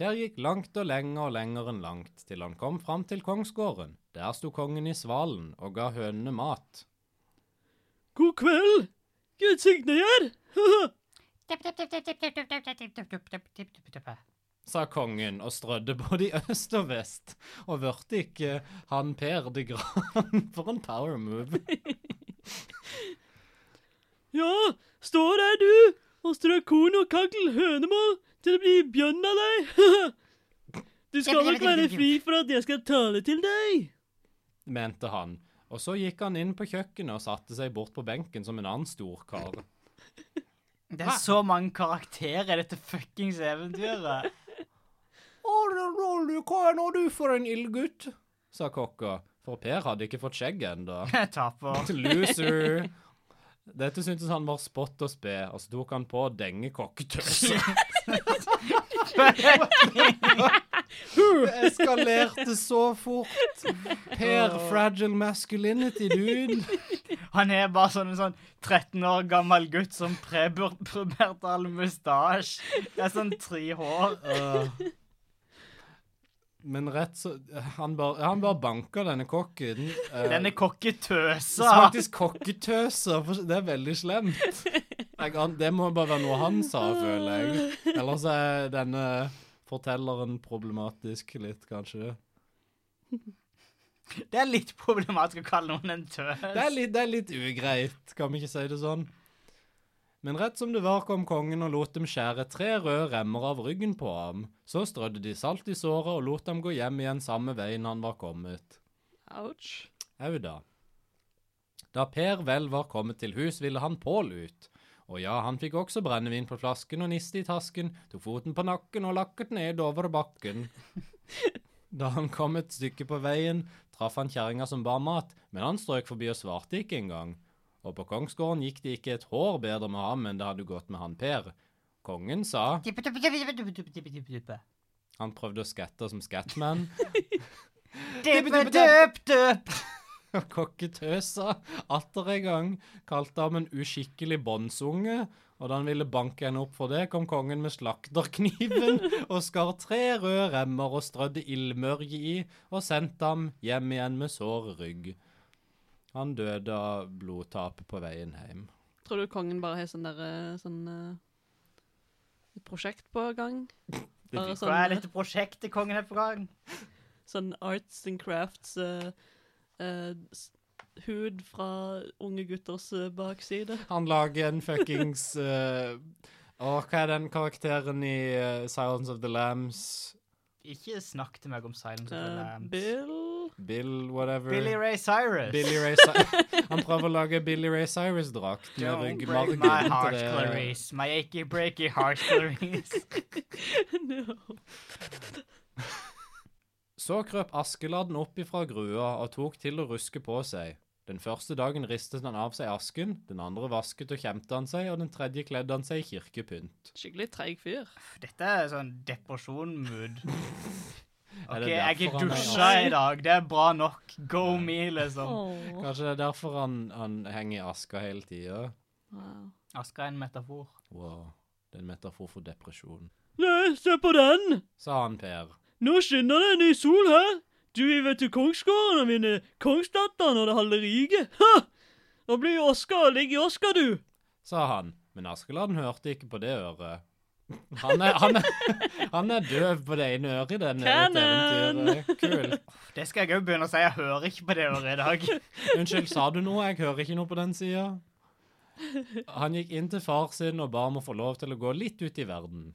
[SPEAKER 1] Per gikk langt og lenger og lenger enn langt, til han kom fram til kongsgården. Der sto kongen i svalen og ga hønene mat.
[SPEAKER 2] God kveld! Gud signe her!
[SPEAKER 1] sa kongen og strødde både i øst og vest, og vørte ikke han Per de Gran [LAUGHS] for en power move.
[SPEAKER 2] ja, stå der du, og strø korn og kagl hønemål til det blir bjørn av deg. [LAUGHS] du skal nok være fri for at jeg skal tale til deg.
[SPEAKER 1] mente han, og så gikk han inn på kjøkkenet og satte seg bort på benken som en annen stor kar.
[SPEAKER 3] Det er så mange karakterer i dette fuckings [LAUGHS] eventyret.
[SPEAKER 1] Hva er nå du for en ildgutt? sa kokka, for Per hadde ikke fått skjegg enda.
[SPEAKER 3] Jeg taper.
[SPEAKER 1] Loser! Dette syntes han var spott og spe, og så tok han på å denge kokketøs. [LAUGHS]
[SPEAKER 3] [LAUGHS]
[SPEAKER 1] Det eskalerte så fort. Per Fragile Masculinity, dude.
[SPEAKER 3] Han er bare sånn en sånn 13 år gammel gutt som prepubertal mustasje. Det er sånn tre hår.
[SPEAKER 1] Men rett så Han bare, han bare banka denne kokken. eh,
[SPEAKER 3] Denne
[SPEAKER 1] så
[SPEAKER 3] kokketøsa.
[SPEAKER 1] Faktisk kokketøser. for Det er veldig slemt. Jeg, an- det må bare være noe han sa, føler jeg. Ellers er denne fortelleren problematisk litt, kanskje.
[SPEAKER 3] Det er litt problematisk å kalle noen en tøs.
[SPEAKER 1] Det er, litt, det er litt ugreit, kan vi ikke si det sånn. Men rett som det var, kom kongen og lot dem skjære tre røde remmer av ryggen på ham. Så strødde de salt i såret og lot ham gå hjem igjen samme veien han var kommet.
[SPEAKER 2] Ouch.
[SPEAKER 1] Au da. Da Per vel var kommet til hus, ville han Pål ut. Og ja, han fikk også brennevin på flasken og niste i tasken, tok foten på nakken og lakket ned over bakken. Da han kom et stykke på veien, traff han kjerringa som bar mat, men han strøk forbi og svarte ikke engang. Og på kongsgården gikk det ikke et hår bedre med ham enn det hadde gått med han Per. Kongen sa Han prøvde å skatte som Scatman. Og [LAUGHS] kokketøsa, atter en gang, kalte ham en uskikkelig båndsunge. Og da han ville banke henne opp for det, kom kongen med slakterkniven og skar tre røde remmer og strødde ildmørje i, og sendte ham hjem igjen med sår rygg. Han døde av blodtap på veien hjem.
[SPEAKER 2] Tror du kongen bare har sånn der eh, sånn eh, et prosjekt på gang?
[SPEAKER 3] [LAUGHS]
[SPEAKER 2] Bare
[SPEAKER 3] Hva er
[SPEAKER 2] sånn,
[SPEAKER 3] dette prosjektet kongen er på gang?
[SPEAKER 2] sånn arts and crafts eh, eh, s- hud fra unge gutters eh, bakside.
[SPEAKER 1] Han lager en fuckings eh, Å, hva er den karakteren i eh, Silence of the Lambs?
[SPEAKER 3] Ikke snakk til meg om Silence of the
[SPEAKER 2] Eh,
[SPEAKER 3] Lambs.
[SPEAKER 2] Bill [LAUGHS]
[SPEAKER 1] Bill, whatever.
[SPEAKER 3] Billy Ray Cyrus.
[SPEAKER 1] Billy Ray Cyrus. Han prøver å lage Billy Ray Cyrus-drakt med
[SPEAKER 3] Don't break
[SPEAKER 1] ryggmargen.
[SPEAKER 3] my
[SPEAKER 1] til
[SPEAKER 3] heart,
[SPEAKER 1] det.
[SPEAKER 3] Clarice. My achy breaky heart, [LAUGHS] Clarice.
[SPEAKER 2] no.
[SPEAKER 1] Så krøp Askeladden opp ifra grua og tok til å ruske på seg. Den første dagen ristet han av seg asken, den andre vasket og kjemte han seg, og den tredje kledde han seg i kirkepynt.
[SPEAKER 2] Skikkelig treig fyr.
[SPEAKER 3] Dette er sånn
[SPEAKER 1] [LAUGHS]
[SPEAKER 3] depresjon-mood.
[SPEAKER 1] Er
[SPEAKER 3] Ok,
[SPEAKER 1] det
[SPEAKER 3] jeg er
[SPEAKER 1] derfor
[SPEAKER 3] ikke
[SPEAKER 1] han er
[SPEAKER 3] dusja i dag. Det er bra nok. Go me, liksom.
[SPEAKER 2] Åh.
[SPEAKER 1] Kanskje det er derfor han, han henger i aska hele tida?
[SPEAKER 2] Wow.
[SPEAKER 3] Aska er en metafor.
[SPEAKER 1] Wow, det er en metafor for depresjon.
[SPEAKER 2] Nei, se på den!
[SPEAKER 1] Sa han Per.
[SPEAKER 2] Nå skinner det en ny sol her! Du vil vet til kongsgården og vinne kongsdatteren og det halve riket. Ha! Nå blir jo Oskar ligg i Oskar, du.
[SPEAKER 1] Sa han. Men Askeladden hørte ikke på det øret. Han er, han, er, han er døv på det ene øret i denne
[SPEAKER 2] Canon!
[SPEAKER 1] eventyret. Kult.
[SPEAKER 3] Det skal jeg òg begynne å si. Jeg hører ikke på det ordet i dag. [LAUGHS]
[SPEAKER 1] Unnskyld, sa du noe? Jeg hører ikke noe på den sida. Han gikk inn til far sin og ba om å få lov til å gå litt ut i verden,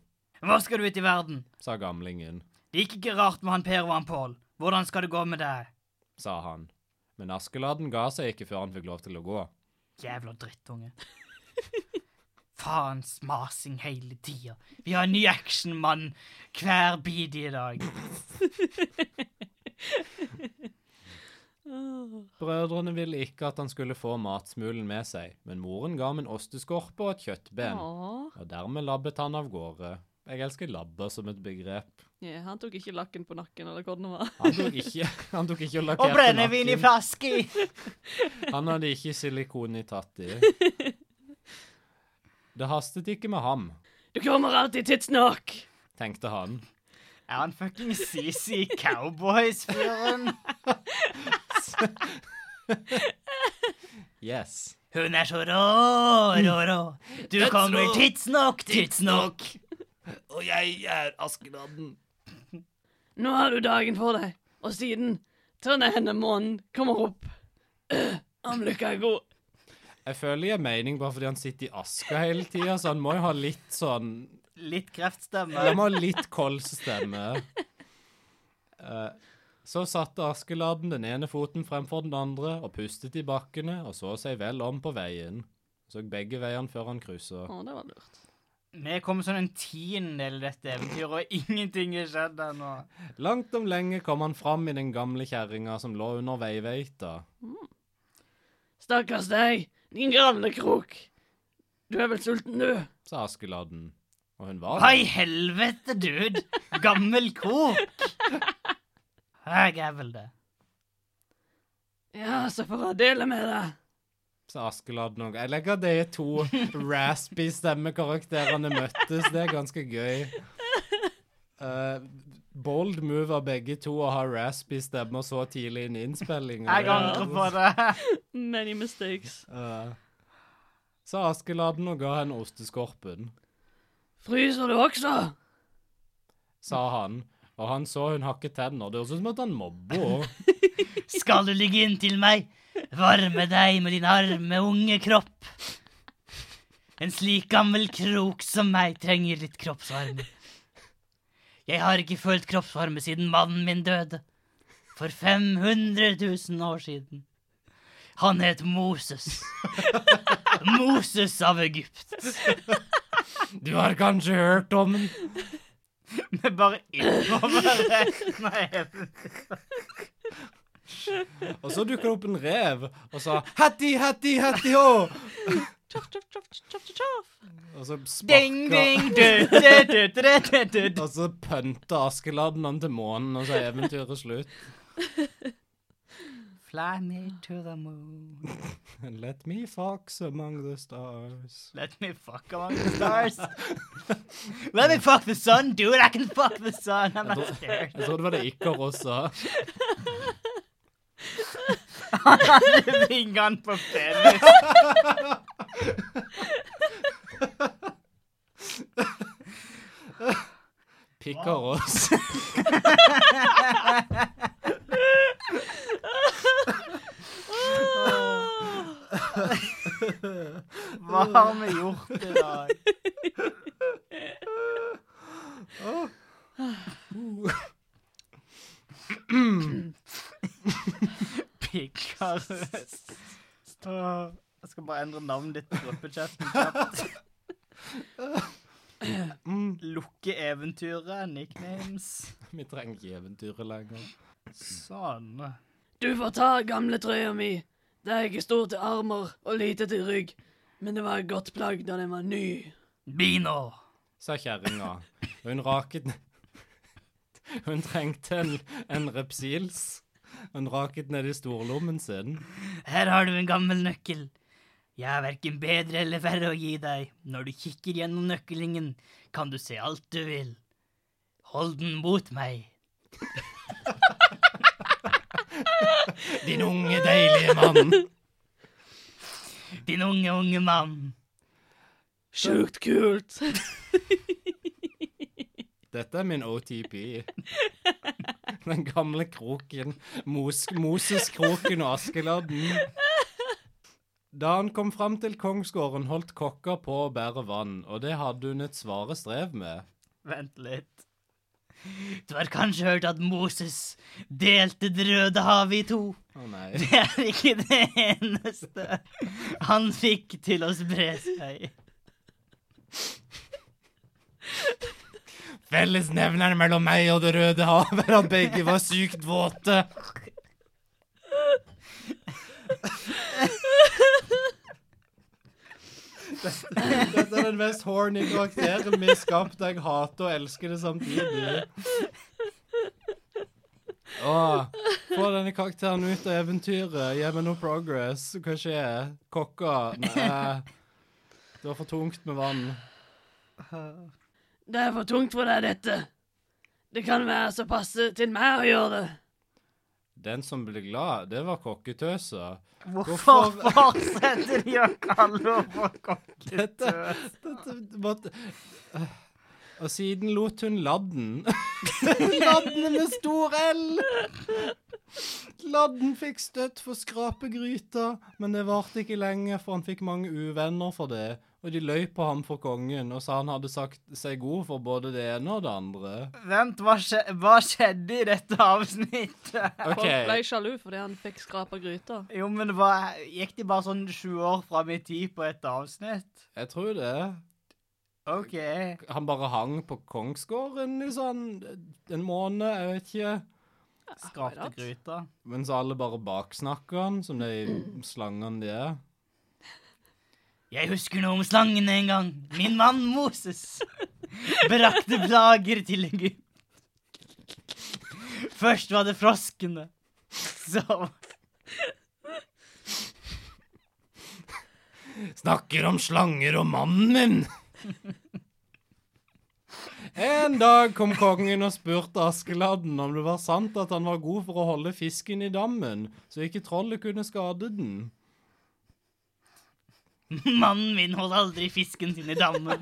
[SPEAKER 3] Hvor skal du ut i verden?
[SPEAKER 1] sa gamlingen,
[SPEAKER 3] Det gikk ikke rart med han Per og han Pål. Hvordan skal det gå med deg?
[SPEAKER 1] sa han. Men Askeladden ga seg ikke før han fikk lov til å gå.
[SPEAKER 3] Jævla [LAUGHS] drittunge. Faens masing hele tida. Vi har en ny actionmann hver bidige dag.
[SPEAKER 1] Brødrene ville ikke at han skulle få matsmulen med seg, men moren ga ham en osteskorpe og et kjøttben,
[SPEAKER 2] Åh.
[SPEAKER 1] og dermed labbet han av gårde. Jeg elsker labba som et begrep.
[SPEAKER 2] Ja, han tok ikke lakken på nakken, eller hvordan det var.
[SPEAKER 1] Han tok ikke, [LAUGHS] han tok ikke og
[SPEAKER 3] Og
[SPEAKER 1] lakkerte
[SPEAKER 3] brennevin i
[SPEAKER 1] nakken.
[SPEAKER 3] flaske!
[SPEAKER 1] Han hadde ikke silikon i tatt i.
[SPEAKER 4] [LAUGHS]
[SPEAKER 1] Det hastet ikke med ham,
[SPEAKER 2] [LAUGHS] Du kommer alltid tidsnok!
[SPEAKER 1] tenkte han.
[SPEAKER 3] Er han fucking CC Cowboys-fyren?
[SPEAKER 1] [LAUGHS] Yes.
[SPEAKER 3] Hun er så rå, rå, rå. Du kommer tidsnok, tidsnok.
[SPEAKER 4] Og jeg er Askeladden.
[SPEAKER 2] Nå har du dagen på deg, og siden tørner henne månen kommer opp. [CLEARS THROAT] Øh, Om lykka er god.
[SPEAKER 1] Jeg føler jeg har mening bare fordi han sitter i aska hele tida, så han må jo ha litt sånn
[SPEAKER 3] Litt
[SPEAKER 1] Han
[SPEAKER 3] kreftstemme.
[SPEAKER 1] må ha litt kolsstemme. Eh, Så satte Askeladden den ene foten fremfor den andre og pustet i bakkene og så seg vel om på veien. Så begge veiene før han kryssa.
[SPEAKER 2] Å, det var lurt.
[SPEAKER 3] Vi kom sånn en tiendedel i dette eventyret, og ingenting er skjedd ennå.
[SPEAKER 1] Langt om lenge kom han fram i den gamle kjerringa som lå under veiveita.
[SPEAKER 2] Stakkars deg, din gravlekrok. Du er vel sulten, du?
[SPEAKER 1] sa Askeladden. Og hun var
[SPEAKER 3] Hva i helvete, dude? Gammel kok! Jeg er vel det.
[SPEAKER 2] Ja, så får jeg dele med deg.
[SPEAKER 1] sa Askeladden òg. Jeg legger de to raspy stemmekarakterene møttes. Det er ganske gøy. Eh, bold move av begge to å ha raspy stemmer så tidlig inn i innspillinga.
[SPEAKER 3] Jeg angrer på det.
[SPEAKER 2] Many mistakes.
[SPEAKER 1] sa Eh, Askeladden og ga henne osteskorpen,
[SPEAKER 2] Fryser du også?
[SPEAKER 1] sa han. Og han så hun hakket tenner. Det høres ut som at han mobber henne.
[SPEAKER 3] Skal du ligge inntil meg, varme deg med din arme, unge kropp. En slik gammel krok som meg trenger litt kroppsvarme. Jeg har ikke følt kroppsvarme siden mannen min døde. For 500 000 år siden. Han het Moses. Moses av Egypt.
[SPEAKER 1] [LAUGHS] Du har kanskje hørt om den?
[SPEAKER 3] Vi bare innover resten av hele
[SPEAKER 1] Og så dukket det opp en rev og sa 'Hattie, hattie, hattie ho!'
[SPEAKER 2] Tjoff, tjoff, tjoff, tjoff, tjoff, tjoff.
[SPEAKER 1] Og så sparka
[SPEAKER 3] Ding, ding, du, du, du, du, du, du, du.
[SPEAKER 1] Og så pønta Askeladden han til månen, og så er eventyret slutt.
[SPEAKER 3] Fly me to the moon.
[SPEAKER 1] And Let me fox among the stars.
[SPEAKER 3] Let me fuck among the stars. Let me fuck the sun, dude. I can fuck the sun. I'm not [LAUGHS] scared.
[SPEAKER 1] Jeg tror det var det Ikaros sa.
[SPEAKER 3] Vingene på penis.
[SPEAKER 1] Pikaros.
[SPEAKER 3] Hva har vi gjort i dag? Pikkars. Åh, Jeg skal bare endre navnet ditt på gruppechatten. [LAUGHS] kjapt. Lukke eventyret, nicknames.
[SPEAKER 1] Vi trenger ikke eventyret lenger.
[SPEAKER 3] Sånn.
[SPEAKER 2] Du får ta gamle trøya mi. Det er ikke stor til armer og lite til rygg, men det var et godt plagg da den var ny.
[SPEAKER 3] Bino.
[SPEAKER 1] Sa kjerringa. Og hun raket Hun trengte en, en repsils. Hun raket ned i storlommen sin.
[SPEAKER 3] Her har du en gammel nøkkel. Jeg er verken bedre eller verre å gi deg. Når du kikker gjennom nøkkelingen, kan du se alt du vil. Hold den mot meg.
[SPEAKER 1] Din unge, deilige mann.
[SPEAKER 3] Din unge, unge mann.
[SPEAKER 2] Sjukt kult.
[SPEAKER 1] Dette er min OTP. [LAUGHS] Den gamle kroken. Mos Moses-kroken og Askeladden. Da han kom fram til kongsgården, holdt kokka på å bære vann, og det hadde hun et svare strev med.
[SPEAKER 3] Vent litt. Du har kanskje hørt at Moses delte Det røde havet i to.
[SPEAKER 1] Å
[SPEAKER 3] [LAUGHS]
[SPEAKER 1] nei.
[SPEAKER 3] Det er ikke det eneste han fikk til å spre seg.
[SPEAKER 1] Fellesnevneren mellom meg og Det røde havet er at begge var sykt våte. Dette er den mest horny karakteren vi har skapt. Jeg hater og elsker det samtidig. Åh, få denne karakteren ut av eventyret. Gi meg noe progress. Hva skjer? Kokker? Nei. Det var for tungt med vann.
[SPEAKER 2] Det er for tungt for deg, dette. Det kan være så passe til meg å gjøre det.
[SPEAKER 1] Den som ble glad, det var kokketøsa.
[SPEAKER 3] Hvorfor
[SPEAKER 1] Hvorfor-
[SPEAKER 3] fortsetter de å kalle henne for
[SPEAKER 1] Dette,
[SPEAKER 5] [LAUGHS]
[SPEAKER 3] kokketøs?
[SPEAKER 1] dette måtte... Øh. Og siden lot hun ladden.
[SPEAKER 5] [LAUGHS]
[SPEAKER 1] ladden med stor L! Ladden fikk støtt for skrapegryta, men det varte ikke lenge, for han fikk mange uvenner for det. Og de løy på ham for kongen og sa han hadde sagt seg god for både det ene og det andre.
[SPEAKER 3] Vent, hva, skje, hva skjedde i dette avsnittet?
[SPEAKER 1] OK.
[SPEAKER 5] Folk ble sjalu fordi han fikk skrapa gryta.
[SPEAKER 3] Jo, men hva, gikk de bare sånn sju år fram i tid på et avsnitt?
[SPEAKER 1] Jeg tror det.
[SPEAKER 3] OK.
[SPEAKER 1] Han bare hang på kongsgården i sånn en måned, jeg vet ikke.
[SPEAKER 3] Skrapte gryta.
[SPEAKER 1] Mens alle bare baksnakker han, som de slangene de er.
[SPEAKER 3] Jeg husker noe om slangen en gang. Min mann Moses brakte plager til Egypt. Først var det froskene. Så
[SPEAKER 1] Snakker om slanger og mannen min! En dag kom kongen og spurte Askeladden om det var sant at han var god for å holde fisken i dammen, så ikke trollet kunne skade den.
[SPEAKER 3] Mannen min holdt aldri fisken sin i dammen.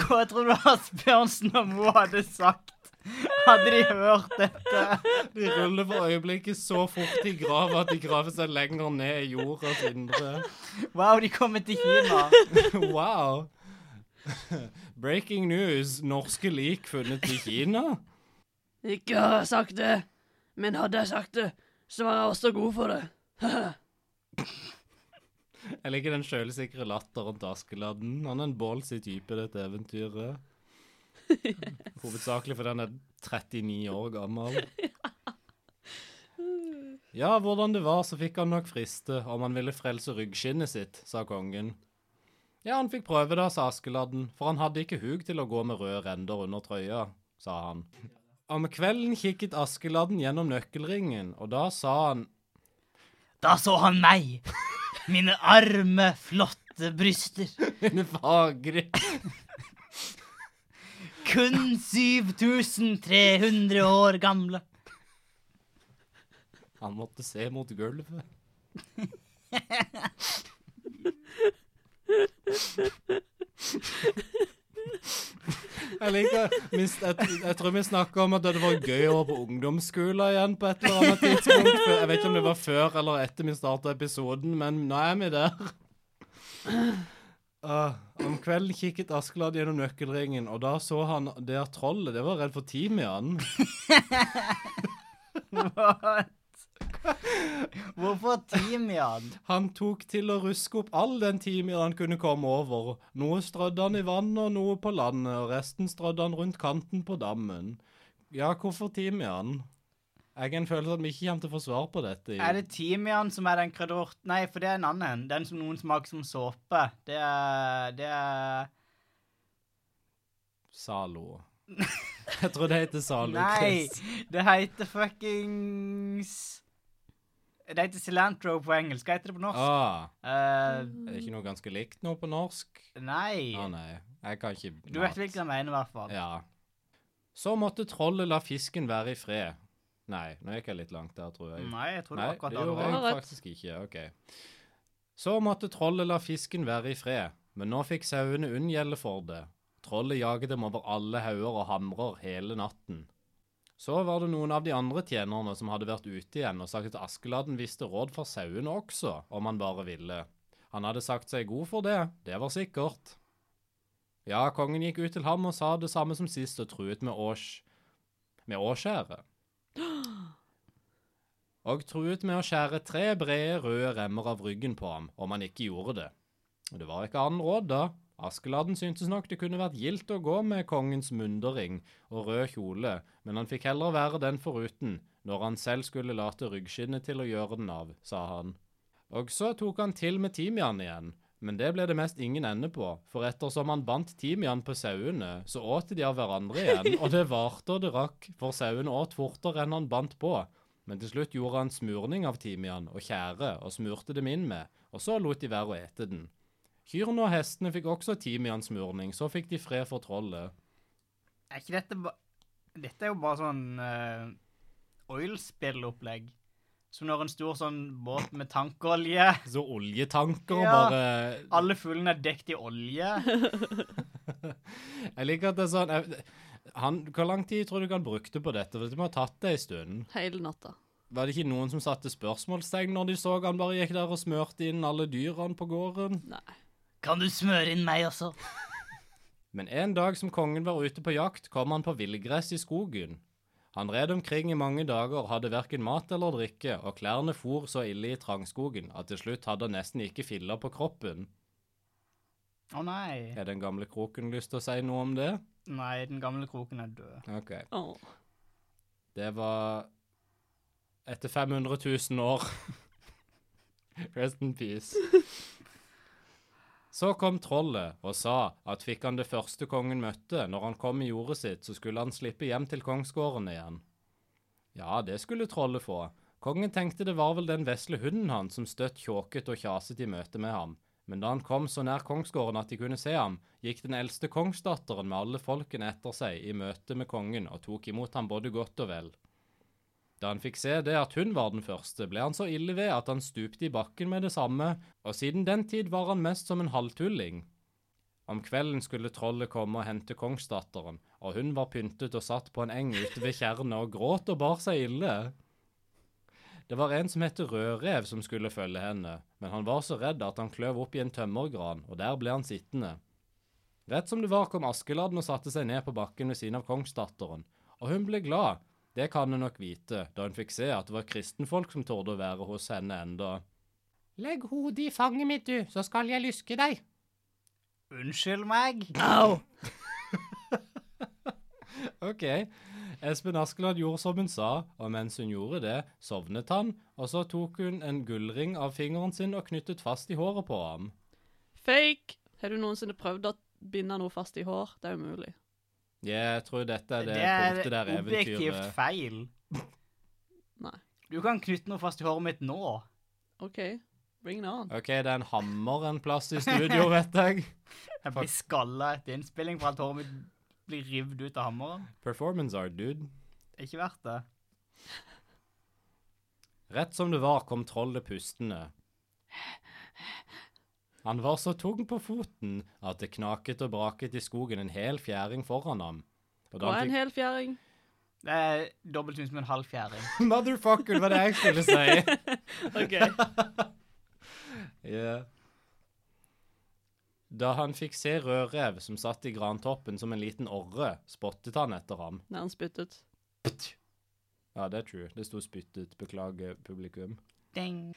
[SPEAKER 3] Hva tror du Asbjørnsen og Moe hadde sagt? Hadde de hørt dette?
[SPEAKER 1] De ruller for øyeblikket så fort i grava at de graver seg lenger ned i jordas indre.
[SPEAKER 3] Wow, de kommer til Kina.
[SPEAKER 1] Wow. [LAUGHS] Breaking news. Norske lik funnet i Kina?
[SPEAKER 2] Ikke har jeg sagt det, men hadde jeg sagt det, så var jeg også god for det.
[SPEAKER 1] Jeg liker den sjølsikre latteren til Askeladden. Han er en ballsy type, dette eventyret. Hovedsakelig fordi han er 39 år gammel. Ja, hvordan det var, så fikk han nok friste om han ville frelse ryggskinnet sitt, sa kongen. Ja, han fikk prøve da, sa Askeladden, for han hadde ikke hug til å gå med røde render under trøya, sa han. Om kvelden kikket Askeladden gjennom nøkkelringen, og da sa han [LAUGHS]
[SPEAKER 3] Da så han meg. Mine arme, flotte bryster.
[SPEAKER 1] Mine fagre
[SPEAKER 3] Kun 7300 år gamle.
[SPEAKER 1] Han måtte se mot gulvet. Jeg liker vi s- jeg, tr- jeg tror vi snakka om at det hadde vært gøy å være på ungdomsskolen igjen på et eller annet tidspunkt. Før- Jeg vet ikke om det var før eller etter vi starta episoden, men nå er vi der. Ah, om kvelden kikket Askeladd gjennom nøkkelringen, og da så han det at trollet. Det var redd for timian.
[SPEAKER 3] What? Hvorfor timian?
[SPEAKER 1] Han tok til å ruske opp all den timen han kunne komme over. Noe strødde han i vannet, og noe på landet, og resten strødde han rundt kanten på dammen. Ja, hvorfor timian? Jeg har en følelse at vi ikke kommer til å få svar på dette.
[SPEAKER 3] Er det timian som er den kryddert... Nei, for det er en annen. Den som noen smaker som såpe. Det er Det er
[SPEAKER 1] Zalo. [LAUGHS] Jeg tror det heter Zalo.
[SPEAKER 3] Nei!
[SPEAKER 1] Chris.
[SPEAKER 3] Det heter fuckings Det heter cilantro på engelsk. Hva heter det på norsk?
[SPEAKER 1] Ah,
[SPEAKER 3] Eh,
[SPEAKER 1] er det ikke noe ganske likt nå på norsk?
[SPEAKER 3] nei.
[SPEAKER 1] Å nei, jeg kan ikke
[SPEAKER 3] Du vet hvilken jeg mener, i hvert fall.
[SPEAKER 1] Ja. Så måtte trollet la fisken være i fred. Nei, nå gikk jeg litt langt der, tror jeg.
[SPEAKER 3] Nei, jeg tror det
[SPEAKER 1] Nei,
[SPEAKER 3] var akkurat
[SPEAKER 1] det
[SPEAKER 3] det det
[SPEAKER 1] gjorde
[SPEAKER 3] var.
[SPEAKER 5] var
[SPEAKER 1] jeg
[SPEAKER 5] rett.
[SPEAKER 1] faktisk ikke. ok. Så måtte trollet la fisken være i fred, men nå fikk sauene unngjelde for det. Trollet jaget dem over alle hauger og hamrer hele natten. Så var det noen av de andre tjenerne som hadde vært ute igjen og sagt at Askeladden visste råd for sauene også, om han bare ville. Han hadde sagt seg god for det, det var sikkert. Ja, kongen gikk ut til ham og sa det samme som sist og truet med års... med åskjæret og truet med å skjære tre brede, røde remmer av ryggen på ham om han ikke gjorde det. Og det var ikke annen råd da, Askeladden syntes nok det kunne vært gildt å gå med kongens mundering og rød kjole, men han fikk heller være den foruten, når han selv skulle late ryggskinnet til å gjøre den av, sa han. Og så tok han til med timian igjen, men det ble det mest ingen ende på, for ettersom han bandt timian på sauene, så åt de av hverandre igjen, og det varte og det rakk, for sauene åt fortere enn han bandt på. Men til slutt gjorde han smurning av timian og tjære og smurte dem inn med, og så lot de være å ete den. Kyrne og hestene fikk også timiansmurning, så fikk de fred for trollet.
[SPEAKER 6] Er ikke dette ba Dette er jo bare sånn
[SPEAKER 3] eh,
[SPEAKER 6] uh, oilspillopplegg. Som når en stor sånn båt med tankolje
[SPEAKER 1] Så oljetanker og
[SPEAKER 6] Ja.
[SPEAKER 1] bare
[SPEAKER 6] Alle fuglene er dekt i olje.
[SPEAKER 1] Jeg liker at det er sånn jeg, han, Hvor lang tid tror du ikke han brukte på dette? For det må ha tatt det en stund.
[SPEAKER 5] Hele natta.
[SPEAKER 1] Var det ikke noen som satte spørsmålstegn når de så han bare gikk der og smørte inn alle dyrene på gården?
[SPEAKER 5] Nei.
[SPEAKER 3] [LAUGHS] Kan du smøre inn meg også?
[SPEAKER 1] Men en dag som kongen var ute på jakt, kom han på villgress i skogen. Han red omkring i mange dager, hadde verken mat eller drikke, og klærne for så ille i trangskogen at til slutt hadde han nesten ikke filler på kroppen.
[SPEAKER 6] Å nei.
[SPEAKER 1] Er den gamle kroken lyst til å si noe om det?
[SPEAKER 6] Nei, den gamle kroken er død.
[SPEAKER 1] Ok.
[SPEAKER 5] Åh.
[SPEAKER 1] Det var etter 500 000 år. [LAUGHS] Rest in peace. Så kom trollet og sa at fikk han det første kongen møtte, når han kom i jordet sitt, så skulle han slippe hjem til kongsgården igjen. Ja, det skulle trollet få. Kongen tenkte det var vel den vesle hunden hans som støtt kjåket og kjaset i møte med ham. Men da han kom så nær kongsgården at de kunne se ham, gikk den eldste kongsdatteren med alle folkene etter seg i møte med kongen og tok imot ham både godt og vel. Da han fikk se det at hun var den første, ble han så ille ved at han stupte i bakken med det samme, og siden den tid var han mest som en halvtulling. Om kvelden skulle trollet komme og hente kongsdatteren, og hun var pyntet og satt på en eng ute ved tjernet og gråt og bar seg ille. Det var en som het Rødrev som skulle følge henne, men han var så redd at han kløv opp i en tømmergran, og der ble han sittende. Rett som det var kom Askeladden og satte seg ned på bakken ved siden av kongsdatteren, og hun ble glad, det kan hun nok vite, da hun fikk se at det var kristenfolk som torde å være hos henne enda. Legg hodet i fanget mitt, du, så skal jeg lyske deg.
[SPEAKER 6] Unnskyld meg.
[SPEAKER 2] Au!
[SPEAKER 1] Ok. Espen Askeland gjorde som hun sa, og mens hun gjorde det, sovnet han, og så tok hun en gullring av fingeren sin og knyttet fast i håret på ham.
[SPEAKER 5] Fake! Har du noensinne prøvd å binde noe fast i hår? Det er umulig.
[SPEAKER 1] Jeg tror dette er det,
[SPEAKER 6] Det er
[SPEAKER 1] punktet der
[SPEAKER 6] objektivt
[SPEAKER 1] eventyret
[SPEAKER 6] feil.
[SPEAKER 5] Nei.
[SPEAKER 6] Du kan knytte noe fast i håret mitt nå.
[SPEAKER 5] OK, bring it on.
[SPEAKER 1] Ok, det er en hammer en plass i
[SPEAKER 6] [LAUGHS]
[SPEAKER 1] studio, vet jeg.
[SPEAKER 6] Jeg blir skalla etter innspilling for alt håret mitt blir rivd ut av hammeren.
[SPEAKER 1] Performance art, dude.
[SPEAKER 6] Det er Ikke verdt det.
[SPEAKER 1] Rett som det var, kom trollet pustende. Han var så tung på foten at det knaket og braket i skogen en hel fjæring foran ham. Og
[SPEAKER 5] Og en hel fjæring.
[SPEAKER 6] Det er dobbelt så mye som en halv fjæring.
[SPEAKER 1] [LAUGHS] Motherfucker, var det jeg skulle si. [LAUGHS]
[SPEAKER 2] OK.
[SPEAKER 1] Yeah. Da han fikk se Rødrev som satt i grantoppen som en liten orre, spottet han etter ham.
[SPEAKER 5] [LAUGHS] Nei, han spyttet.
[SPEAKER 1] Ja, det er true. Det sto spyttet. Beklager, publikum.
[SPEAKER 6] Ding.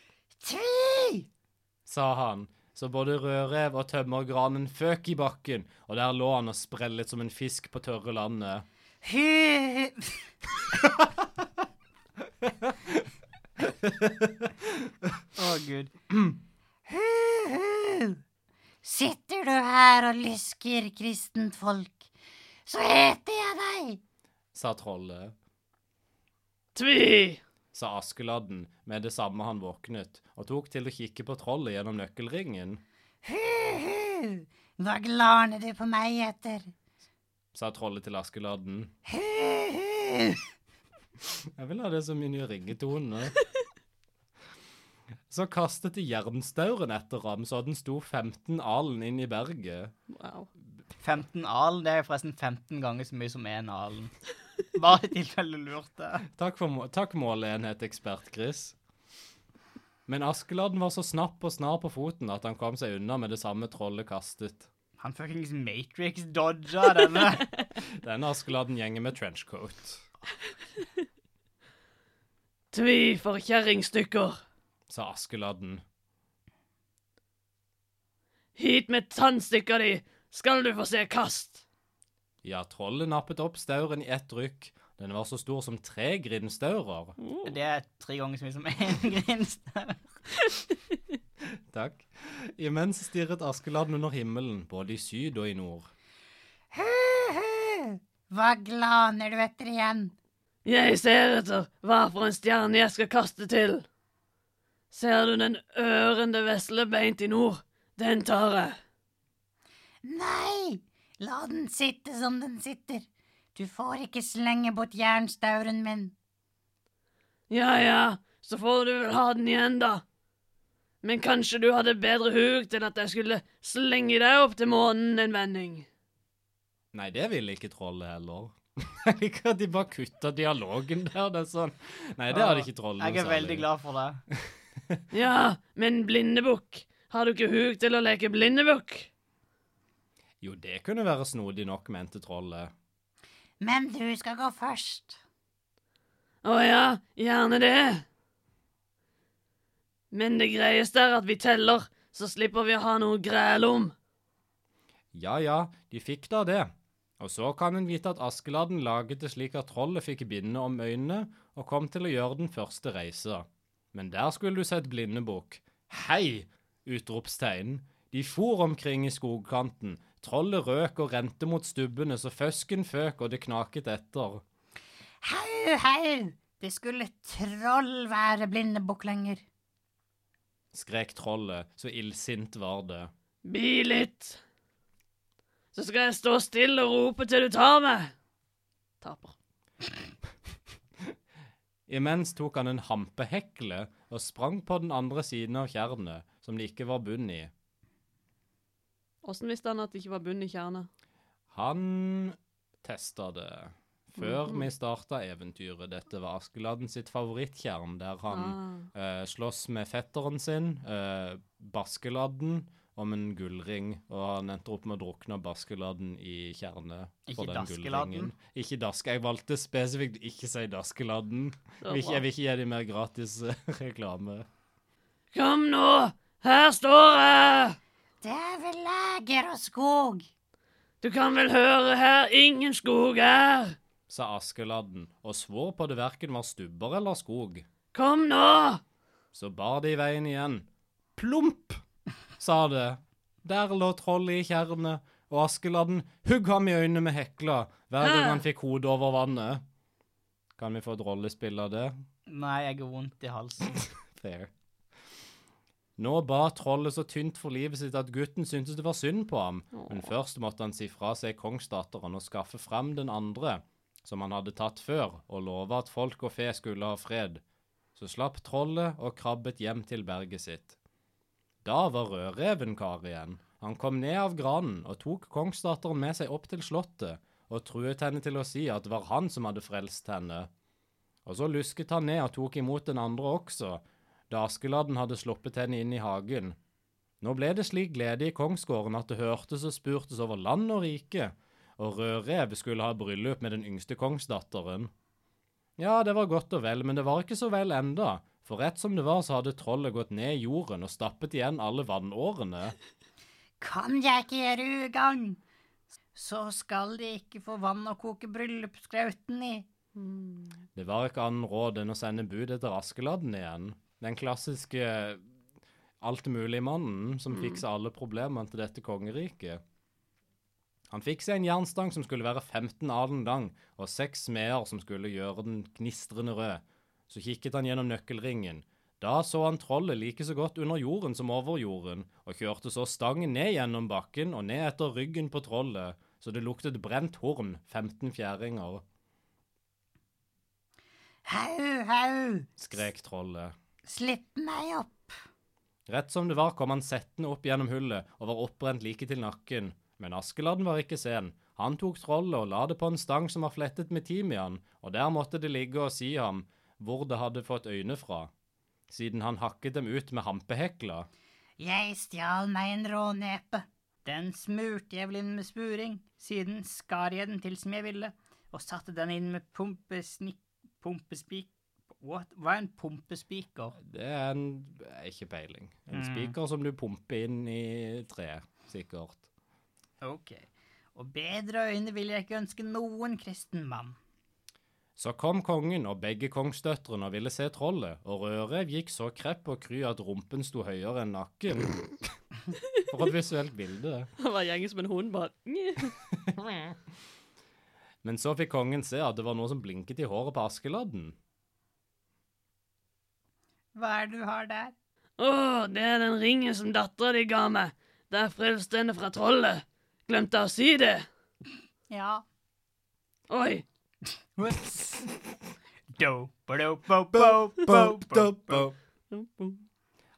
[SPEAKER 1] sa han, så både rødrev og tømmergranen føk i bakken, og der lå han og sprellet som en fisk på tørre landet.
[SPEAKER 6] Å, gud.
[SPEAKER 3] Sitter du her og lysker, kristent folk, så heter jeg deg.
[SPEAKER 1] sa trollet,
[SPEAKER 2] Tvi!
[SPEAKER 1] sa Askeladden med det samme han våknet, og tok til å kikke på trollet gjennom nøkkelringen,
[SPEAKER 3] Hu-hu, hva glaner du på meg etter?
[SPEAKER 1] sa trollet til Askeladden. [LAUGHS]
[SPEAKER 3] Hu-hu.
[SPEAKER 1] Jeg vil ha det som min nye ringetone. Så kastet de jernstauren etter ham, så den sto 15 alen inn i berget.
[SPEAKER 5] Wow.
[SPEAKER 6] 15 alen, det er forresten 15 ganger så mye som én alen. Bare i tilfelle du lurte.
[SPEAKER 1] Takk, for, må- takk måleenhet, ekspert Chris. Men Askeladden var så snapp og snar på foten at han kom seg unna med det samme trollet kastet.
[SPEAKER 6] Han fuckings Matrix-dodga denne.
[SPEAKER 1] Denne Askeladden gjenger med trenchcoat,
[SPEAKER 2] Tvi for kjerringstykker!
[SPEAKER 1] sa Askeladden.
[SPEAKER 5] Hit med tannstikka di, skal du få se kast!
[SPEAKER 1] Ja, trollet nappet opp stauren i ett rykk. Den var så stor som tre grindstaurer.
[SPEAKER 6] Det er tre ganger så mye som [LAUGHS] én grinstaur.
[SPEAKER 1] Takk. Imens stirret Askeladden under himmelen, både i syd og i nord.
[SPEAKER 3] Eh, Hva glaner du etter igjen?
[SPEAKER 5] Jeg ser etter hva for en stjerne jeg skal kaste til. Ser du den ørende vesle beint i nord? Den tar jeg.
[SPEAKER 3] Nei, la den sitte som den sitter. Du får ikke slenge bort jernstauren min.
[SPEAKER 5] Ja ja, så får du vel ha den igjen, da. Men kanskje du hadde bedre hug til at jeg skulle slenge deg opp til månen en vending.
[SPEAKER 1] Nei, det ville ikke trollet heller. [LAUGHS] Jeg liker at de bare kutta dialogen der. Det er sånn. Nei, det hadde ikke trollet.
[SPEAKER 6] Ah, Jeg
[SPEAKER 1] noe
[SPEAKER 6] er veldig
[SPEAKER 1] særlig.
[SPEAKER 6] glad for det.
[SPEAKER 5] Ja, men blindebukk, har du ikke hug til å leke blindebukk?
[SPEAKER 1] Jo, det kunne være snodig nok, mente trollet.
[SPEAKER 3] Men du skal gå først.
[SPEAKER 5] Å ja, gjerne det. Men det greieste er at vi teller, så slipper vi å ha noe græl om.
[SPEAKER 1] Ja ja, de fikk da det. Og så kan en vite at Askeladden laget det slik at trollet fikk binde om øynene og kom til å gjøre den første reisa. Men der skulle du sett blindebukk. Hei! utropstegn. De for omkring i skogkanten. Trollet røk og rente mot stubbene så føsken føk og det knaket etter.
[SPEAKER 3] Hau, hau! Det skulle troll være blindebukk lenger.
[SPEAKER 1] skrek trollet, så illsint var det.
[SPEAKER 5] Bi litt. Så skal jeg stå stille og rope til du tar meg. Taper.
[SPEAKER 1] Imens tok han en hampehekle og sprang på den andre siden av tjernet, som det ikke var bunn i.
[SPEAKER 5] Åssen visste han at det ikke var bunn i kjernet?
[SPEAKER 1] Han testa det før
[SPEAKER 6] Mm.
[SPEAKER 1] vi starta eventyret. Dette var Askeladden sitt favorittkjern, der han
[SPEAKER 6] Ah.
[SPEAKER 5] Ah.
[SPEAKER 1] eh, slåss med fetteren sin, eh, Baskeladden, om en gullring, og han endte opp med å drukne Baskeladden i tjernet. for
[SPEAKER 6] Ikke
[SPEAKER 1] den
[SPEAKER 6] Daskeladden?
[SPEAKER 1] gullringen. Ikke Daske. Jeg valgte spesifikt ikke si Daskeladden.
[SPEAKER 5] var
[SPEAKER 1] Vil ikke-
[SPEAKER 5] bra.
[SPEAKER 1] Jeg vil ikke gi dem mer gratis eh, [LAUGHS] reklame.
[SPEAKER 5] Kom nå! Her står jeg!
[SPEAKER 3] Det er vel leger og skog.
[SPEAKER 5] Du kan vel høre her, ingen skog er.
[SPEAKER 1] sa Askeladden og svor på det verken var stubber eller skog.
[SPEAKER 5] Kom nå!
[SPEAKER 1] Så bar de veien igjen. Plump, sa det. Der lå trollet i tjernet, og Askeladden hugg ham i øynene med hekla hver gang han fikk hodet over vannet. Kan vi få et rollespill av det?
[SPEAKER 6] Nei, jeg har vondt i halsen.
[SPEAKER 1] Fair. Nå ba trollet så tynt for livet sitt at gutten syntes det var synd på ham, men først måtte han si fra seg kongsdatteren og skaffe fram den andre, som han hadde tatt før, og love at folk og fe skulle ha fred. Så slapp trollet og krabbet hjem til berget sitt. Da var rødreven kar igjen. Han kom ned av granen og tok kongsdatteren med seg opp til slottet, og truet henne til å si at det var han som hadde frelst henne. Og så lusket han ned og tok imot den andre også, da Askeladden hadde sluppet henne inn i hagen. Nå ble det slik glede i kongsgården at det hørtes og spurtes over land og rike, og Rødrev skulle ha bryllup med den yngste kongsdatteren. Ja, det var godt og vel, men det var ikke så vel enda, for rett som det var så hadde trollet gått ned i jorden og stappet igjen alle vannårene.
[SPEAKER 3] Kan jeg ikke gjøre ugagn, så skal de ikke få vann å koke bryllupsgrauten i.
[SPEAKER 1] Det var ikke annen råd enn å sende bud etter Askeladden igjen. Den klassiske eh, altmuligmannen som fiksa alle problemene til dette kongeriket. Han fikk seg en jernstang som skulle være 15 alen lang, og seks smeder som skulle gjøre den gnistrende rød. Så kikket han gjennom nøkkelringen. Da så han trollet like så godt under jorden som over jorden, og kjørte så stangen ned gjennom bakken og ned etter ryggen på trollet, så det luktet brent horn, 15 fjæringer,
[SPEAKER 3] Hau, hau,
[SPEAKER 1] skrek trollet.
[SPEAKER 3] slipp meg opp.
[SPEAKER 1] Rett som det var, kom han settende opp gjennom hullet og var oppbrent like til nakken. Men Askeladden var ikke sen. Han tok trollet og la det på en stang som var flettet med timian, og der måtte det ligge og si ham hvor det hadde fått øyne fra, siden han hakket dem ut med hampehekla.
[SPEAKER 3] Jeg stjal meg en rånepe. Den smurte jeg vel inn med spuring, siden skar jeg den til som jeg ville, og satte den inn med pumpesnik... pumpespik... What? Hva er en pumpespiker?
[SPEAKER 1] Det er en Ikke peiling. En spiker som du pumper inn i treet, sikkert.
[SPEAKER 3] Ok. Og bedre øyne vil jeg ikke ønske noen kristen mann.
[SPEAKER 1] Så kom kongen og begge kongsdøtrene og ville se trollet, og Rødrev gikk så krepp og kry at rumpen sto høyere enn nakken. For et visuelt bilde.
[SPEAKER 5] [LAUGHS] Han var gjengen som en hund, bare
[SPEAKER 3] [LAUGHS]
[SPEAKER 5] «Nye».
[SPEAKER 1] Men så fikk kongen se at det var noe som blinket i håret på Askeladden.
[SPEAKER 3] Hva er det du har der?
[SPEAKER 5] Å, det er den ringen som dattera di ga meg. Der frelste henne fra trollet. Glemte å si det.
[SPEAKER 3] Ja.
[SPEAKER 5] Oi.
[SPEAKER 3] Do, ba-do, bo, bo, bo, bo, bo.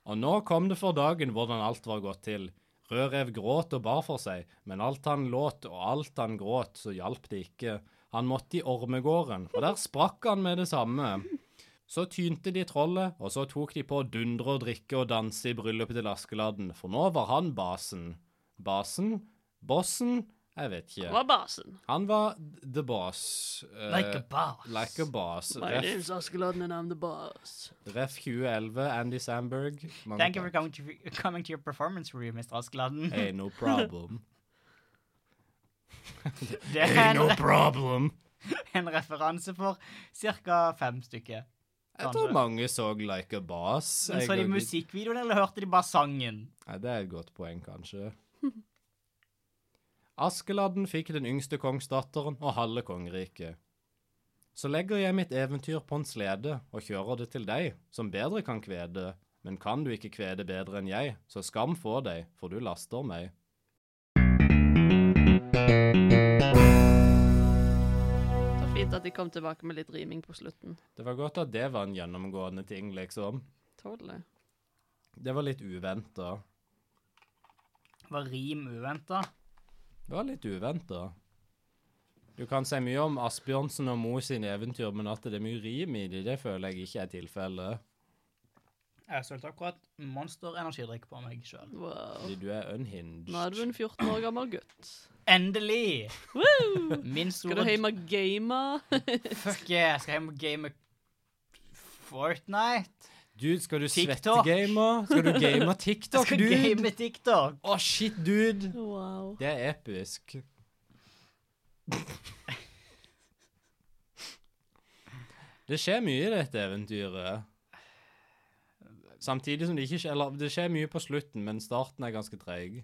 [SPEAKER 1] Og nå kom det for dagen hvordan alt var gått til. Rødrev gråt og bar for seg, men alt han låt og alt han gråt, så hjalp det ikke. Han måtte i ormegården, og der sprakk han med det samme. Så tynte de trollet, og så tok de på å dundre og drikke og danse i bryllupet til Askeladden, for nå var han basen. Basen? Bossen? Jeg vet
[SPEAKER 5] Det
[SPEAKER 1] ikke.
[SPEAKER 5] var basen.
[SPEAKER 1] Han var the boss. eh,
[SPEAKER 7] Like a boss.
[SPEAKER 1] like a boss.
[SPEAKER 5] My
[SPEAKER 1] Ref,
[SPEAKER 5] name's Askeladden, and I'm the boss.
[SPEAKER 1] ref 2011, Andy Sandberg. Mange
[SPEAKER 3] Thank you for
[SPEAKER 1] takk.
[SPEAKER 3] coming to, coming to your performance review, Mr. Askeladden.
[SPEAKER 1] Hey, no
[SPEAKER 3] [LAUGHS]
[SPEAKER 1] problem. [LAUGHS]
[SPEAKER 3] Det er en,
[SPEAKER 1] problem.
[SPEAKER 3] en referanse for ca. fem stykker.
[SPEAKER 1] Jeg tror mange så Like a Boss.
[SPEAKER 3] Men
[SPEAKER 1] Jeg
[SPEAKER 3] så de
[SPEAKER 1] kan ikke-
[SPEAKER 3] musikkvideoen, eller hørte de bare sangen?
[SPEAKER 1] Nei, det er et godt poeng, kanskje. [LAUGHS] Askeladden fikk den yngste kongsdatteren og halve kongeriket. Så legger jeg mitt eventyr på en slede og kjører det til deg, som bedre kan kvede. Men kan du ikke kvede bedre enn jeg, så skam få deg, for du laster meg.
[SPEAKER 5] Så fint at de kom tilbake med litt riming på slutten.
[SPEAKER 1] Det var godt at det var en gjennomgående ting, liksom.
[SPEAKER 5] Tåler det.
[SPEAKER 1] Det var litt uventa.
[SPEAKER 3] Var rim uventa?
[SPEAKER 1] Det var litt uventa. Du kan si mye om Asbjørnsen og Mo sine eventyr, men at det er mye rim i de, det føler jeg ikke er tilfellet.
[SPEAKER 3] Jeg sølte akkurat Monster energidrikk på meg sjøl.
[SPEAKER 5] Wow.
[SPEAKER 1] Fordi du er unhinged.
[SPEAKER 5] Nå er du en 14 år gammel gutt.
[SPEAKER 3] [LAUGHS] Endelig!
[SPEAKER 5] Woo!
[SPEAKER 3] Min
[SPEAKER 5] Skal
[SPEAKER 3] store
[SPEAKER 5] du hjem og game?
[SPEAKER 3] Fuck yeah, jeg skal hjem og game Fortnite.
[SPEAKER 1] Dude, skal du
[SPEAKER 3] TikTok.
[SPEAKER 1] svettegame? Skal du game
[SPEAKER 3] Jeg
[SPEAKER 1] TikTok,
[SPEAKER 3] skal
[SPEAKER 1] dude?
[SPEAKER 3] game TikTok.
[SPEAKER 1] Å, shit, dude!
[SPEAKER 5] [LAUGHS] Wow.
[SPEAKER 1] Det er
[SPEAKER 5] [LAUGHS]
[SPEAKER 1] episk. Det skjer mye i dette eventyret. Samtidig som det ikke skjer Eller, det skjer mye på slutten, men starten er ganske treig.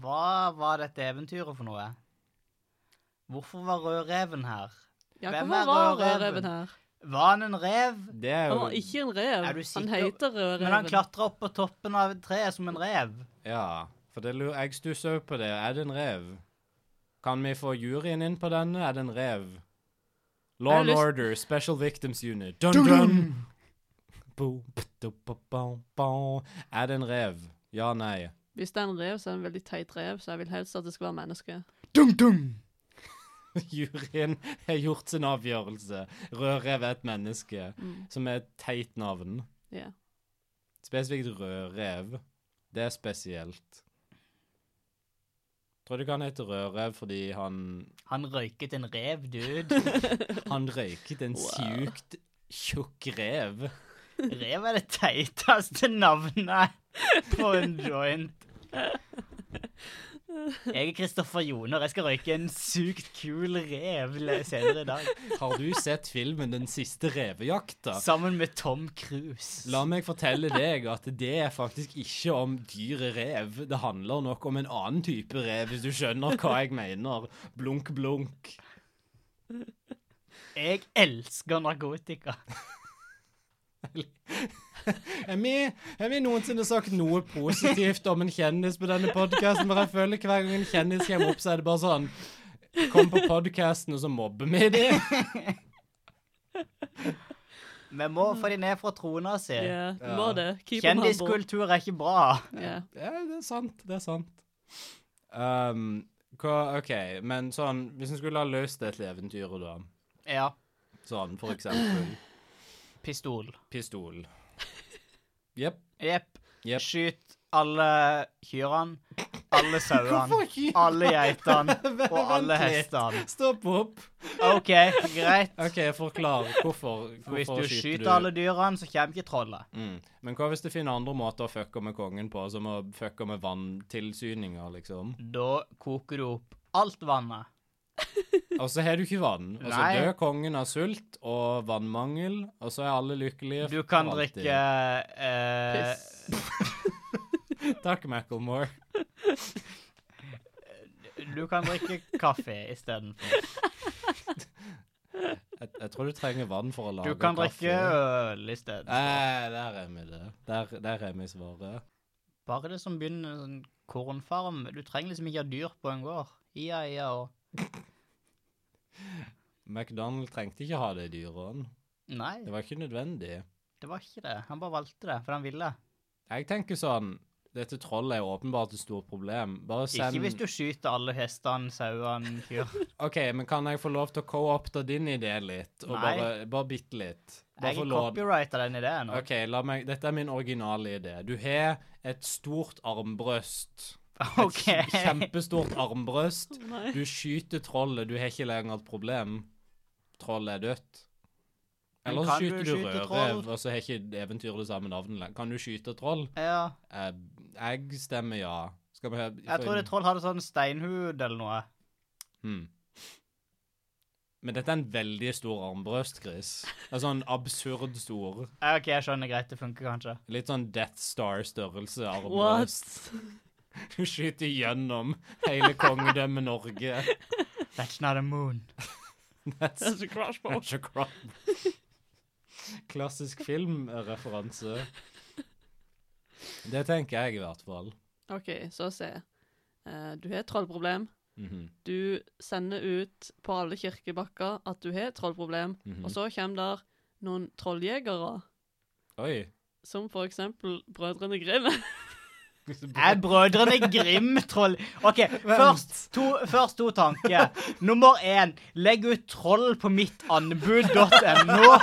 [SPEAKER 3] Hva var dette eventyret for noe? Hvorfor var Rødreven her?
[SPEAKER 5] Ja,
[SPEAKER 3] Hvem
[SPEAKER 5] hvorfor
[SPEAKER 3] er
[SPEAKER 5] var
[SPEAKER 3] rødreven?
[SPEAKER 5] rødreven her?
[SPEAKER 3] Var han en rev?
[SPEAKER 1] Det er
[SPEAKER 5] Han
[SPEAKER 1] jo
[SPEAKER 5] var ikke en rev.
[SPEAKER 3] Er du
[SPEAKER 5] Han
[SPEAKER 3] sikker?
[SPEAKER 5] heter
[SPEAKER 3] Men han
[SPEAKER 5] rødreven.
[SPEAKER 3] klatra opp på toppen av et tre som en rev.
[SPEAKER 1] Ja, for det, lu- jeg stusser jo på det. Er det en rev? Kan vi få juryen inn på denne? Er det en rev? Law
[SPEAKER 5] Jeg har
[SPEAKER 1] and
[SPEAKER 5] lyst-
[SPEAKER 1] Order, Special Victims Unit. Dun, dun! Bo, pto, bo, bo, bo. Er det en rev? Ja, nei.
[SPEAKER 5] Hvis det er en rev, så er det en veldig teit rev, så jeg vil helst at det skal være menneske.
[SPEAKER 1] [LAUGHS] Juryen har gjort sin avgjørelse. Rødrev er et menneske, som er et teit navn.
[SPEAKER 5] Ja.
[SPEAKER 1] Spesifikt rødrev. Det er spesielt. Tror du ikke han heter rødrev fordi han
[SPEAKER 3] Han røyket en rev, dude.
[SPEAKER 1] Han røyket en sykt tjukk rev.
[SPEAKER 3] Rev er det teiteste navnet på en joint. Jeg er Kristoffer Joner. Jeg skal røyke en sykt kul rev le- senere i dag.
[SPEAKER 1] Har du sett filmen 'Den siste revejakta'?
[SPEAKER 3] Sammen med Tom Cruise.
[SPEAKER 1] La meg fortelle deg at det er faktisk ikke om dyret rev. Det handler nok om en annen type rev, hvis du skjønner hva jeg mener. Blunk, blunk.
[SPEAKER 3] Jeg elsker narkotika.
[SPEAKER 1] Har vi, har vi noensinne sagt noe positivt om en kjendis på denne podkasten? For jeg føler hver gang en kjendis kommer opp, så er det bare sånn Kom på podkasten, og så mobber vi dem.
[SPEAKER 3] Vi må få de ned fra trona si.
[SPEAKER 5] Ja, du må det. Keep 'em humble.
[SPEAKER 3] Kjendiskultur er ikke bra.
[SPEAKER 5] Ja.
[SPEAKER 1] Ja, det er sant. Det er sant. Um, hva, OK, men sånn Hvis en skulle ha løst dette eventyret, da.
[SPEAKER 3] Ja.
[SPEAKER 1] Sånn for eksempel
[SPEAKER 3] Pistol.
[SPEAKER 1] pistol. Jepp.
[SPEAKER 3] Jepp.
[SPEAKER 1] Jepp.
[SPEAKER 3] Skyt alle kyrne. Alle sauene,
[SPEAKER 1] ikke?
[SPEAKER 3] alle geitene
[SPEAKER 1] [LAUGHS] Vent
[SPEAKER 3] og alle
[SPEAKER 1] litt.
[SPEAKER 3] hestene.
[SPEAKER 1] Stopp opp.
[SPEAKER 3] OK, greit.
[SPEAKER 1] OK, forklar. Hvorfor,
[SPEAKER 3] For hvis
[SPEAKER 1] hvorfor
[SPEAKER 3] du skyter alle dyrene, så kommer ikke trollet.
[SPEAKER 1] Mm. Men hva hvis du finner andre måter å fucke med kongen på, som å fucke med vanntilsyninger,
[SPEAKER 3] [LAUGHS]
[SPEAKER 1] liksom?
[SPEAKER 3] Da koker du opp alt vannet.
[SPEAKER 1] Og så har du ikke vann. Og så
[SPEAKER 3] Nei.
[SPEAKER 1] dør kongen av sult og vannmangel, og så er alle lykkelige.
[SPEAKER 3] Du kan
[SPEAKER 1] for alltid.
[SPEAKER 3] drikke eh,
[SPEAKER 1] [LAUGHS] Takk, Macklemore.
[SPEAKER 3] Du kan
[SPEAKER 1] [LAUGHS]
[SPEAKER 3] drikke kaffe istedenfor.
[SPEAKER 1] Jeg, jeg tror du trenger vann for å lage
[SPEAKER 3] Du
[SPEAKER 1] kaffe.
[SPEAKER 3] kan drikke øl isteden.
[SPEAKER 1] Nei, der er vi det. Der, der er vi i svaret.
[SPEAKER 3] Bare det som begynner sånn kornfarm. Du trenger liksom ikke ha dyr på en gård. Ia, ia og
[SPEAKER 1] McDonald trengte ikke ha de dyrene.
[SPEAKER 3] Nei,
[SPEAKER 1] Det var ikke nødvendig.
[SPEAKER 3] det var ikke det. Han bare valgte det, for han ville.
[SPEAKER 1] Jeg tenker sånn Dette trollet er åpenbart et stort problem. Bare send
[SPEAKER 3] Ikke hvis du skyter alle hestene, sauene, kyrne.
[SPEAKER 1] OK, men kan jeg få lov til å co-opte din idé litt? Og
[SPEAKER 3] Nei.
[SPEAKER 1] bare, bare bitte litt? [LAUGHS] Bare
[SPEAKER 3] Jeg
[SPEAKER 1] få lov-
[SPEAKER 3] copyrighter den ideen. nå.
[SPEAKER 1] OK, la meg Dette er min originale idé. Du har et stort armbrøst.
[SPEAKER 3] [LAUGHS] OK.
[SPEAKER 1] Et
[SPEAKER 3] [LAUGHS]
[SPEAKER 1] kjempestort armbrøst.
[SPEAKER 5] Nei.
[SPEAKER 1] Du skyter trollet, du har ikke lenger et problem. Trollet er dødt.
[SPEAKER 3] Men
[SPEAKER 1] Eller så
[SPEAKER 3] kan du
[SPEAKER 1] skyter du
[SPEAKER 3] skyte
[SPEAKER 1] rødrev,
[SPEAKER 3] troll?
[SPEAKER 1] og så har ikke eventyret det samme navnet lenger. Kan du skyte troll?
[SPEAKER 3] Ja.
[SPEAKER 1] Eh, Jeg stemmer ja. Skal vi høre
[SPEAKER 3] Jeg tror det troll hadde sånn steinhud eller noe.
[SPEAKER 1] Hmm. Men dette er en veldig stor armbrøst, Chris. Det er sånn absurd stor.
[SPEAKER 3] Ja, OK, jeg skjønner greit. Det funker kanskje.
[SPEAKER 1] Litt sånn Death Star-størrelse
[SPEAKER 5] What?
[SPEAKER 1] armbrøst. Du skyter gjennom hele kongedømmet Norge.
[SPEAKER 3] That's not a moon.
[SPEAKER 1] [LAUGHS] That's [LAUGHS]
[SPEAKER 5] That's a crossbow.
[SPEAKER 1] Catch a crumb. Klassisk filmreferanse. Det tenker jeg i hvert fall.
[SPEAKER 5] OK, så se. Eh, du har et trollproblem.
[SPEAKER 1] Mhm,
[SPEAKER 5] Du sender ut på alle kirkebakker at du har et trollproblem,
[SPEAKER 1] mhm.
[SPEAKER 5] og så kommer der noen trolljegere,
[SPEAKER 1] Oi.
[SPEAKER 5] som for eksempel Brødrene
[SPEAKER 1] [LAUGHS]
[SPEAKER 5] Grimm.
[SPEAKER 3] Er brødrene Grim-troll?
[SPEAKER 1] [LAUGHS]
[SPEAKER 3] OK, først to, først to tanker. Nummer én, legg ut troll på mittanbud.no.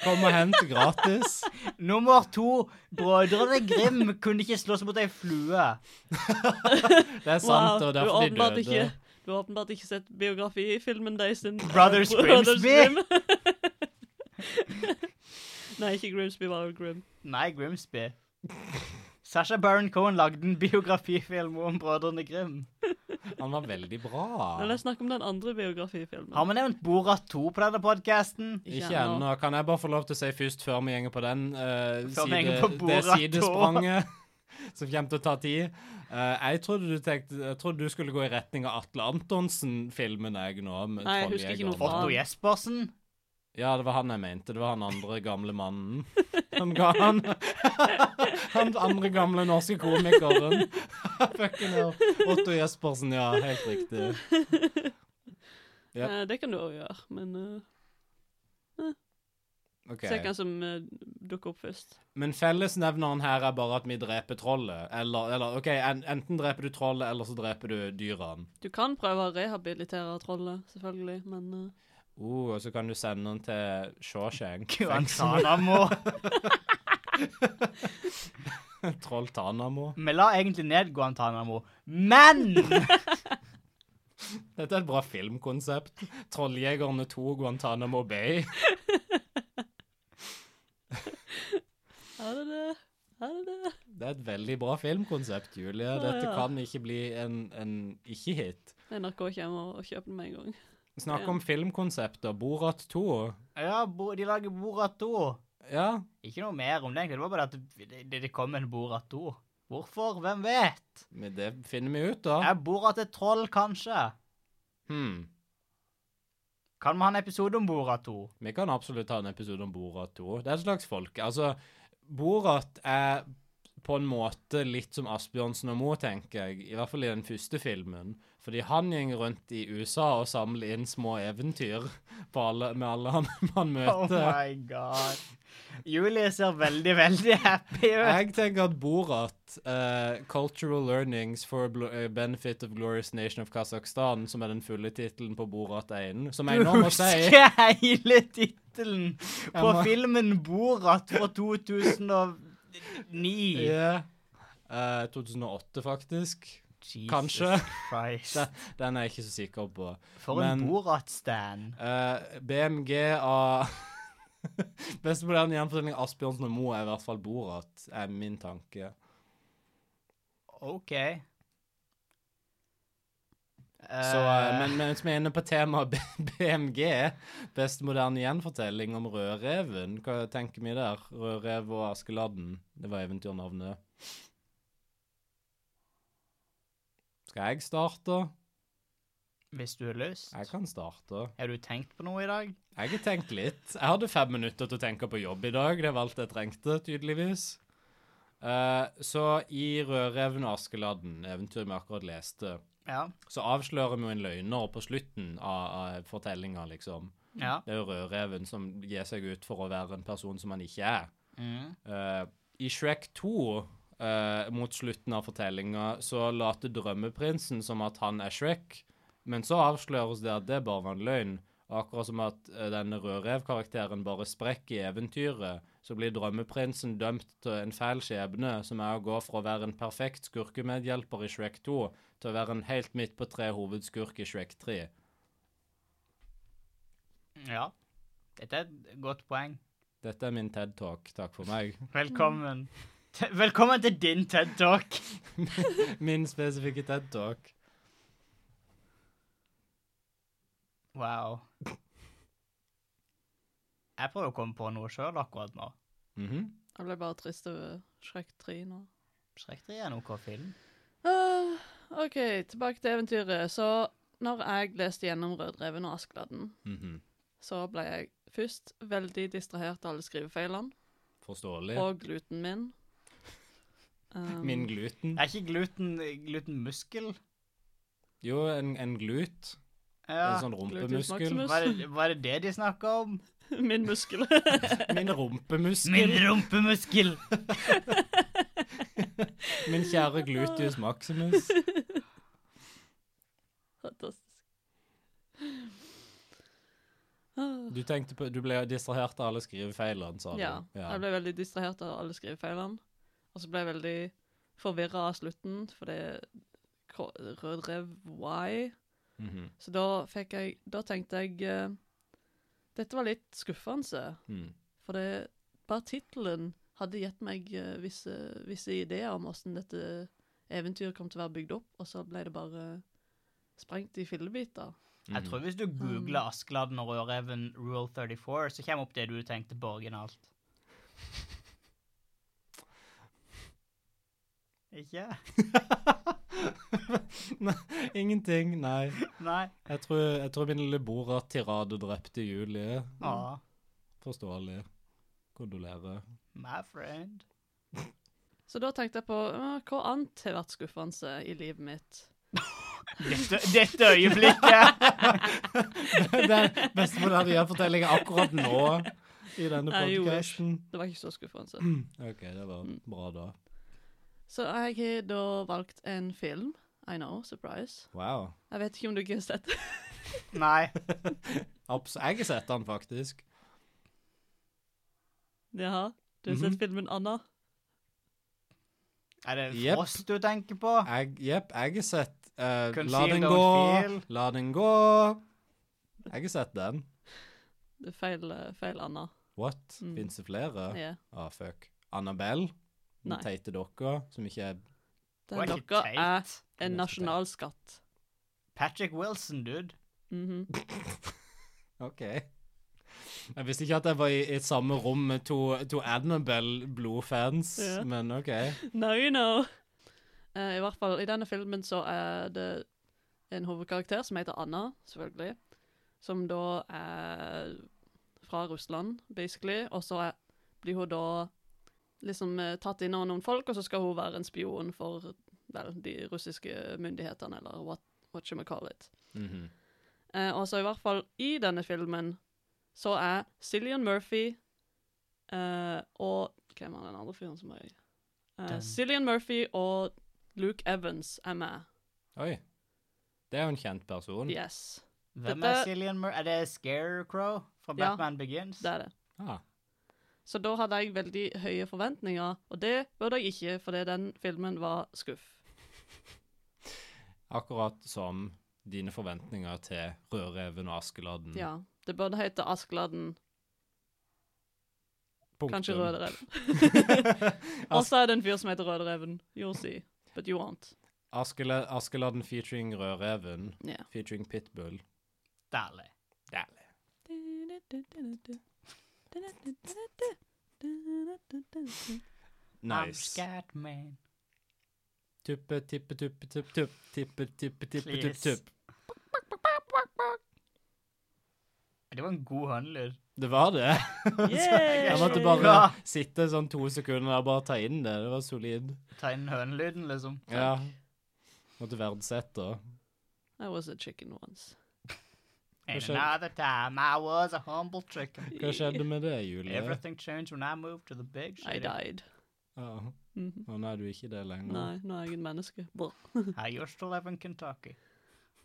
[SPEAKER 1] Kom og hent gratis.
[SPEAKER 3] Nummer to, brødrene Grim kunne ikke slåss mot ei flue.
[SPEAKER 1] Det er sant, og
[SPEAKER 5] du har
[SPEAKER 1] derfor de
[SPEAKER 5] åpenbart
[SPEAKER 1] døde.
[SPEAKER 5] ikke- Du har åpenbart ikke sett biografifilmen deres
[SPEAKER 1] [LAUGHS]
[SPEAKER 5] sin
[SPEAKER 3] Brothers Grimsby.
[SPEAKER 5] [LAUGHS] Nei, ikke Grimsby, bare Grim.
[SPEAKER 3] Nei, Grimsby. Sasha Baron Cohen lagde en biografifilm om brødrene Grim.
[SPEAKER 1] Han var veldig bra.
[SPEAKER 5] Men la oss snakke om den andre biografifilmen.
[SPEAKER 3] Har vi nevnt Borat 2 på denne podkasten?
[SPEAKER 1] Ikke
[SPEAKER 5] [LAUGHS]
[SPEAKER 1] ennå. Kan jeg bare få lov til å si først, før vi gjenger på den, eh,
[SPEAKER 3] Før vi gjenger på
[SPEAKER 1] det
[SPEAKER 3] Borat
[SPEAKER 1] sidespranget [LAUGHS] som kommer til å ta tid Eh, jeg, trodde du tenkte, jeg trodde du skulle gå i retning av Atle Antonsen-filmen jeg nå. med
[SPEAKER 5] Nei, jeg husker ikke
[SPEAKER 1] Trolljegeren.
[SPEAKER 5] noe fra
[SPEAKER 3] Otto Jespersen?
[SPEAKER 1] Ja, det var han jeg mente. Det var han andre gamle mannen. Han ga han [LAUGHS] Han andre gamle norske komikeren. [LAUGHS] Fucking hell. Otto Jespersen, ja. Helt riktig. Ja.
[SPEAKER 5] Eh, det kan du òg gjøre, men eh,
[SPEAKER 1] Ok.
[SPEAKER 5] se hvem som eh, dukker opp først.
[SPEAKER 1] Men fellesnevneren her er bare at vi dreper trollet. Eller, eller OK, en, enten dreper du trollet, eller så dreper du dyrene.
[SPEAKER 5] Du kan prøve å rehabilitere trollet, selvfølgelig, men eh,
[SPEAKER 1] Uh, og så kan du sende den til
[SPEAKER 5] [LAUGHS]
[SPEAKER 1] Shawshank.
[SPEAKER 3] Guantanamo.
[SPEAKER 1] Troll Tanamo.
[SPEAKER 3] Vi la egentlig ned Guantánamo, men
[SPEAKER 1] Dette er et bra filmkonsept. Trolljegerne 2 Guantánamo Bay.
[SPEAKER 5] er det det? Er det det?
[SPEAKER 1] Det er et veldig bra filmkonsept, Julie.
[SPEAKER 5] Å,
[SPEAKER 1] Dette
[SPEAKER 5] ja.
[SPEAKER 1] kan ikke bli en, en ikke-hit.
[SPEAKER 5] NRK kommer og kjøper den med en gang.
[SPEAKER 1] Snakk
[SPEAKER 5] Ja.
[SPEAKER 1] om filmkonsepter. Borat 2.
[SPEAKER 3] Ja, bo, de lager Borat 2.
[SPEAKER 1] Ja,
[SPEAKER 3] Ikke noe mer om det, egentlig. Det var bare at det, det- det kom en Borat 2. Hvorfor? Hvem vet?
[SPEAKER 1] men det finner vi ut, da.
[SPEAKER 3] Er Borat et troll, kanskje?
[SPEAKER 1] Hmm.
[SPEAKER 3] Kan vi ha en episode om Borat 2?
[SPEAKER 1] Vi kan absolutt ha en episode om Borat 2. Det er et slags folk. Altså, Borat er på en måte litt som Asbjørnsen og Moe, tenker jeg. I hvert fall i den første filmen. Fordi han går rundt i USA og samler inn små eventyr på alle, med alle han, [LAUGHS] han
[SPEAKER 3] Oh
[SPEAKER 1] møter.
[SPEAKER 3] my god. Julie ser veldig, veldig happy ut.
[SPEAKER 1] Jeg tenker at Borat, eh, 'Cultural Learnings for Blo- eh, Benefit of Glorious Nation of Kazakhstan', som er den fulle tittelen på Borat 1, som jeg
[SPEAKER 3] Du
[SPEAKER 1] nå må si
[SPEAKER 3] husker hele tittelen på
[SPEAKER 1] må-
[SPEAKER 3] filmen Borat fra 2009.
[SPEAKER 1] [LAUGHS] Ja. Eh, 2008, faktisk.
[SPEAKER 6] Jesus
[SPEAKER 1] Kanskje.
[SPEAKER 6] Christ.
[SPEAKER 1] Det- Den er jeg ikke så sikker på.
[SPEAKER 6] For en
[SPEAKER 1] Men-
[SPEAKER 6] Borat-stand.
[SPEAKER 1] Eh, BMG av [LAUGHS] Beste moderne gjenfortelling av Asbjørnsen og Moe er i hvert fall Borat, er min tanke.
[SPEAKER 6] OK. Eh,
[SPEAKER 1] Så, eh, men mens vi er inne på temaet B- [LAUGHS] BMG, beste moderne gjenfortelling om Rødreven, hva tenker vi der? Rødrev og Askeladden, det var eventyrnavnet. Skal jeg starte?
[SPEAKER 6] Hvis du har lyst.
[SPEAKER 1] Jeg kan starte.
[SPEAKER 6] Har du tenkt på noe i dag?
[SPEAKER 1] Jeg har tenkt litt. Jeg hadde fem minutter til å tenke på jobb i dag. Det var alt jeg trengte, tydeligvis. Eh, så i 'Rødreven og Askeladden', eventyret vi akkurat leste,
[SPEAKER 6] Ja.
[SPEAKER 1] så avslører vi jo en løgner på slutten av, av fortellinga, liksom.
[SPEAKER 6] Ja.
[SPEAKER 1] Det er jo Rødreven som gir seg ut for å være en person som han ikke er.
[SPEAKER 6] Mm.
[SPEAKER 1] Eh, I Shrek 2, eh, mot slutten av fortellinga, så later drømmeprinsen som at han er Shrek, men så avsløres det at det bare var en løgn. Akkurat som at eh, denne rødrev-karakteren bare sprekker i eventyret, så blir drømmeprinsen dømt til en fæl skjebne, som er å gå fra å være en perfekt skurkemedhjelper i Shrek 2 til å være en helt midt på tre hovedskurk i Shrek 3.
[SPEAKER 6] ja. Dette er et godt poeng.
[SPEAKER 1] Dette er min TED-talk. Takk for meg.
[SPEAKER 6] Velkommen. Te- Velkommen til din TED Talk.
[SPEAKER 1] [LAUGHS] Min spesifikke TED-talk.
[SPEAKER 6] Wow. Jeg prøver å komme på noe sjøl akkurat nå.
[SPEAKER 1] Mhm.
[SPEAKER 5] Jeg ble bare trist over Shrek 3 nå.
[SPEAKER 6] Shrek 3 er noe film.
[SPEAKER 5] Ah, OK, tilbake til eventyret. Så når jeg leste gjennom Rødreven og Askeladden,
[SPEAKER 1] Mhm.
[SPEAKER 5] så ble jeg først veldig distrahert av alle skrivefeilene
[SPEAKER 1] Forståelig.
[SPEAKER 5] og gluten min. Um,
[SPEAKER 1] Min gluten.
[SPEAKER 6] Er ikke gluten glutenmuskel?
[SPEAKER 1] Jo, en, en glut.
[SPEAKER 6] Ja.
[SPEAKER 1] En sånn rumpemuskel.
[SPEAKER 5] Gluteus
[SPEAKER 6] Var det, var det det de snakka om?
[SPEAKER 5] [LAUGHS] Min muskel.
[SPEAKER 1] [LAUGHS] Min rumpemuskel.
[SPEAKER 3] Min rumpemuskel.
[SPEAKER 1] Min kjære gluteus
[SPEAKER 5] [LAUGHS]
[SPEAKER 1] maximus.
[SPEAKER 5] Fantastisk. Ah,
[SPEAKER 1] Du tenkte på, du ble distrahert av alle skrivefeilene, sa du.
[SPEAKER 5] ja, jeg ble veldig distrahert av alle skrivefeilene. Og så ble jeg veldig forvirra av slutten, for det er kro- Rødrev Why.
[SPEAKER 1] Mhm.
[SPEAKER 5] Så da, fikk jeg, da tenkte jeg eh, Dette var litt skuffende,
[SPEAKER 1] [LAUGHS] Mm.
[SPEAKER 5] for det, bare tittelen hadde gitt meg eh, visse, visse ideer om hvordan dette eventyret kom til å være bygd opp, og så ble det bare sprengt i fillebiter.
[SPEAKER 6] Jeg tror hvis du googler Askeladden og Rødreven Rule 34, så kommer opp det du tenkte på originalt. Ikke?
[SPEAKER 1] Ingenting, nei.
[SPEAKER 6] Nei.
[SPEAKER 1] Jeg tror, jeg tror min lille Borat-tirade drepte Julie.
[SPEAKER 6] Å,
[SPEAKER 1] Forståelig. Kondolerer.
[SPEAKER 6] my friend.
[SPEAKER 5] Så da tenkte jeg på eh, hva annet har vært skuffende i livet mitt.
[SPEAKER 6] Dette, dette øyeblikket!
[SPEAKER 1] [LAUGHS] Det er best på den gjenfortellingen akkurat nå i denne
[SPEAKER 5] Jeg gjorde Mm.
[SPEAKER 1] podkasten.
[SPEAKER 5] Det var ikke så skuffende.
[SPEAKER 1] OK, det var bra, da.
[SPEAKER 5] Så jeg har da valgt en film. I know, surprise.
[SPEAKER 1] Wow.
[SPEAKER 5] Jeg vet ikke om du ikke har sett [LAUGHS] den.
[SPEAKER 6] Nei.
[SPEAKER 1] Abs jeg har sett den, faktisk.
[SPEAKER 5] Jaha, du har
[SPEAKER 1] Mhm.
[SPEAKER 5] sett filmen Anna?
[SPEAKER 6] Er det
[SPEAKER 1] Jep.
[SPEAKER 6] Frost du tenker på?
[SPEAKER 1] Jeg, jep, jeg har sett eh, La
[SPEAKER 6] Conceal,
[SPEAKER 1] den
[SPEAKER 6] don't
[SPEAKER 1] gå,
[SPEAKER 6] feel.
[SPEAKER 1] la den gå. Jeg har sett den.
[SPEAKER 5] Det er feil, eh, feil Anna.
[SPEAKER 1] What?
[SPEAKER 5] Mm.
[SPEAKER 1] Fins det flere?
[SPEAKER 5] Ja.
[SPEAKER 1] Ah, fuck. Annabelle, den
[SPEAKER 5] Nei.
[SPEAKER 1] teite dokka, som ikke er
[SPEAKER 5] Den
[SPEAKER 6] Var ikke
[SPEAKER 5] dokka
[SPEAKER 6] teit.
[SPEAKER 5] er
[SPEAKER 1] Den
[SPEAKER 5] en
[SPEAKER 1] er så teit.
[SPEAKER 5] nasjonalskatt.
[SPEAKER 6] Patrick Wilson, dude.
[SPEAKER 5] Mhm.
[SPEAKER 1] OK. Jeg visste ikke at jeg var i, i samme rom med to, to Annabelle-blodfans,
[SPEAKER 5] Ja.
[SPEAKER 1] men OK.
[SPEAKER 5] Now you know. Eh, I hvert fall, i denne filmen så er det en hovedkarakter som heter Anna, selvfølgelig. Som da er fra Russland, basically. Og så er- blir hun da liksom eh, tatt inn av noen folk, og så skal hun være en spion for vel, de russiske myndighetene, eller what, what you call it.
[SPEAKER 1] Mhm.
[SPEAKER 5] Eh, og så i hvert fall i denne filmen så er Cillian Murphy eh, og Hvem er den andre fyren som er i? Eh,
[SPEAKER 6] Den.
[SPEAKER 5] Cillian Murphy og Luke Evans er med.
[SPEAKER 1] Oi. Det er jo en kjent person.
[SPEAKER 5] Yes,
[SPEAKER 6] Hvem
[SPEAKER 5] Dette-
[SPEAKER 6] er Cillian Mur... Er det Scarecrow fra
[SPEAKER 5] Ja.
[SPEAKER 6] Batman Begins?
[SPEAKER 5] det er det.
[SPEAKER 1] Ah.
[SPEAKER 5] Så da hadde jeg veldig høye forventninger, og det burde jeg ikke, fordi den filmen var skuff.
[SPEAKER 1] Akkurat som dine forventninger til Rødreven og Askeladden.
[SPEAKER 5] Ja, det burde hete Askeladden,
[SPEAKER 1] Punktum.
[SPEAKER 5] kanskje
[SPEAKER 1] [LAUGHS]
[SPEAKER 5] Rødreven. og så er det en fyr som heter Rødreven. You'll see, but you won't.
[SPEAKER 1] Askela Askeladden featuring Rødreven,
[SPEAKER 5] Ja.
[SPEAKER 1] featuring Pitbull.
[SPEAKER 3] Dæhlig.
[SPEAKER 1] Dæhlig.
[SPEAKER 3] I'm
[SPEAKER 1] Nice.
[SPEAKER 3] scared, man.
[SPEAKER 1] Tuppe, tippe, tuppe, tupp, tupp. Tippe, tippe, tippe, tupp,
[SPEAKER 3] Please.
[SPEAKER 1] tupp.
[SPEAKER 3] Det var en god håndlyd.
[SPEAKER 1] Det var
[SPEAKER 5] [LAUGHS]
[SPEAKER 1] det.
[SPEAKER 5] Yeah!
[SPEAKER 1] [LAUGHS] Jeg måtte bare
[SPEAKER 3] Ja.
[SPEAKER 1] sitte sånn to sekunder og bare ta inn det. Det var solid.
[SPEAKER 3] Ta inn hønelyden, liksom.
[SPEAKER 1] Ja. Måtte verdsette.
[SPEAKER 5] I was a chicken once.
[SPEAKER 3] And
[SPEAKER 1] skjedde?
[SPEAKER 3] another time I was a humble chicken.
[SPEAKER 1] Hva skjedde med det, Julie?
[SPEAKER 3] Everything changed when I moved to the big
[SPEAKER 5] I
[SPEAKER 3] city.
[SPEAKER 5] died.
[SPEAKER 1] Å
[SPEAKER 5] Mhm.
[SPEAKER 1] Å nei, du er ikke det lenger.
[SPEAKER 5] Nei, nå er jeg et menneske. Brr.
[SPEAKER 3] I used to live in Kentucky.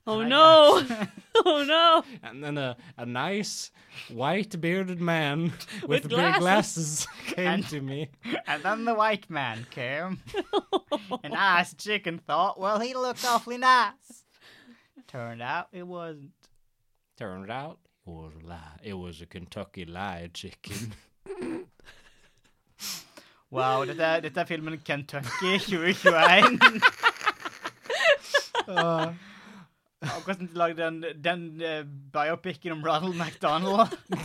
[SPEAKER 5] Oh
[SPEAKER 3] I
[SPEAKER 5] no! [LAUGHS] Oh no!
[SPEAKER 1] And then a, a nice white bearded man with,
[SPEAKER 5] With
[SPEAKER 1] big glasses came
[SPEAKER 3] And-
[SPEAKER 1] to
[SPEAKER 3] [LAUGHS]
[SPEAKER 1] me.
[SPEAKER 3] And then the white man came. and I, as a chicken, thought, well, he looked awfully nice. Turned out it wasn't.
[SPEAKER 1] Turned out it was a lie. It was a Kentucky lie chicken.
[SPEAKER 3] Wow, dette er, dette er filmen Kentucky
[SPEAKER 1] [LAUGHS]
[SPEAKER 3] 2021. Akkurat som de lagde den, den eh, biopicen om Ronald McDonald.
[SPEAKER 1] [LAUGHS]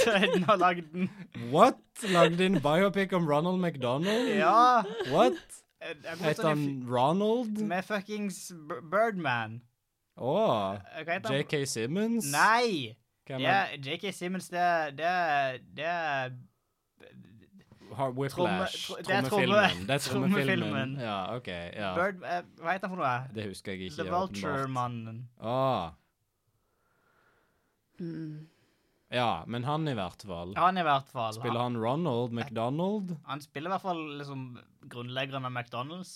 [SPEAKER 3] Så er den har lagd den.
[SPEAKER 1] What? Lagde en biopic om Ronald McDonald?
[SPEAKER 3] Ja.
[SPEAKER 1] What?
[SPEAKER 3] eh, det er godt
[SPEAKER 1] Het
[SPEAKER 3] sånn i
[SPEAKER 1] han Ronald?
[SPEAKER 3] fi- Med fuckings B- Birdman.
[SPEAKER 1] Å.
[SPEAKER 3] Eh, Hva heter han?
[SPEAKER 1] J.K. Simmons?
[SPEAKER 3] Nei!
[SPEAKER 1] Hvem
[SPEAKER 3] Det
[SPEAKER 1] er
[SPEAKER 3] er J.K. Simmons, det er Det er, det er
[SPEAKER 1] Har Whiplash?
[SPEAKER 3] Tromme- tro- det er tromme-
[SPEAKER 1] Trommefilmen. Det er trommefilmen.
[SPEAKER 3] trommefilmen.
[SPEAKER 1] Ja, OK. ja.
[SPEAKER 3] Bird, eh, Hva heter han for noe?
[SPEAKER 1] Det husker jeg ikke.
[SPEAKER 3] The
[SPEAKER 1] åpenbart.
[SPEAKER 3] Vulture-mannen.
[SPEAKER 1] Ah,
[SPEAKER 5] Mm.
[SPEAKER 1] ja, men han i hvert fall.
[SPEAKER 3] Han i hvert fall.
[SPEAKER 1] Spiller han Ronald McDonald?
[SPEAKER 3] Han spiller i hvert fall liksom grunnleggeren av McDonald's.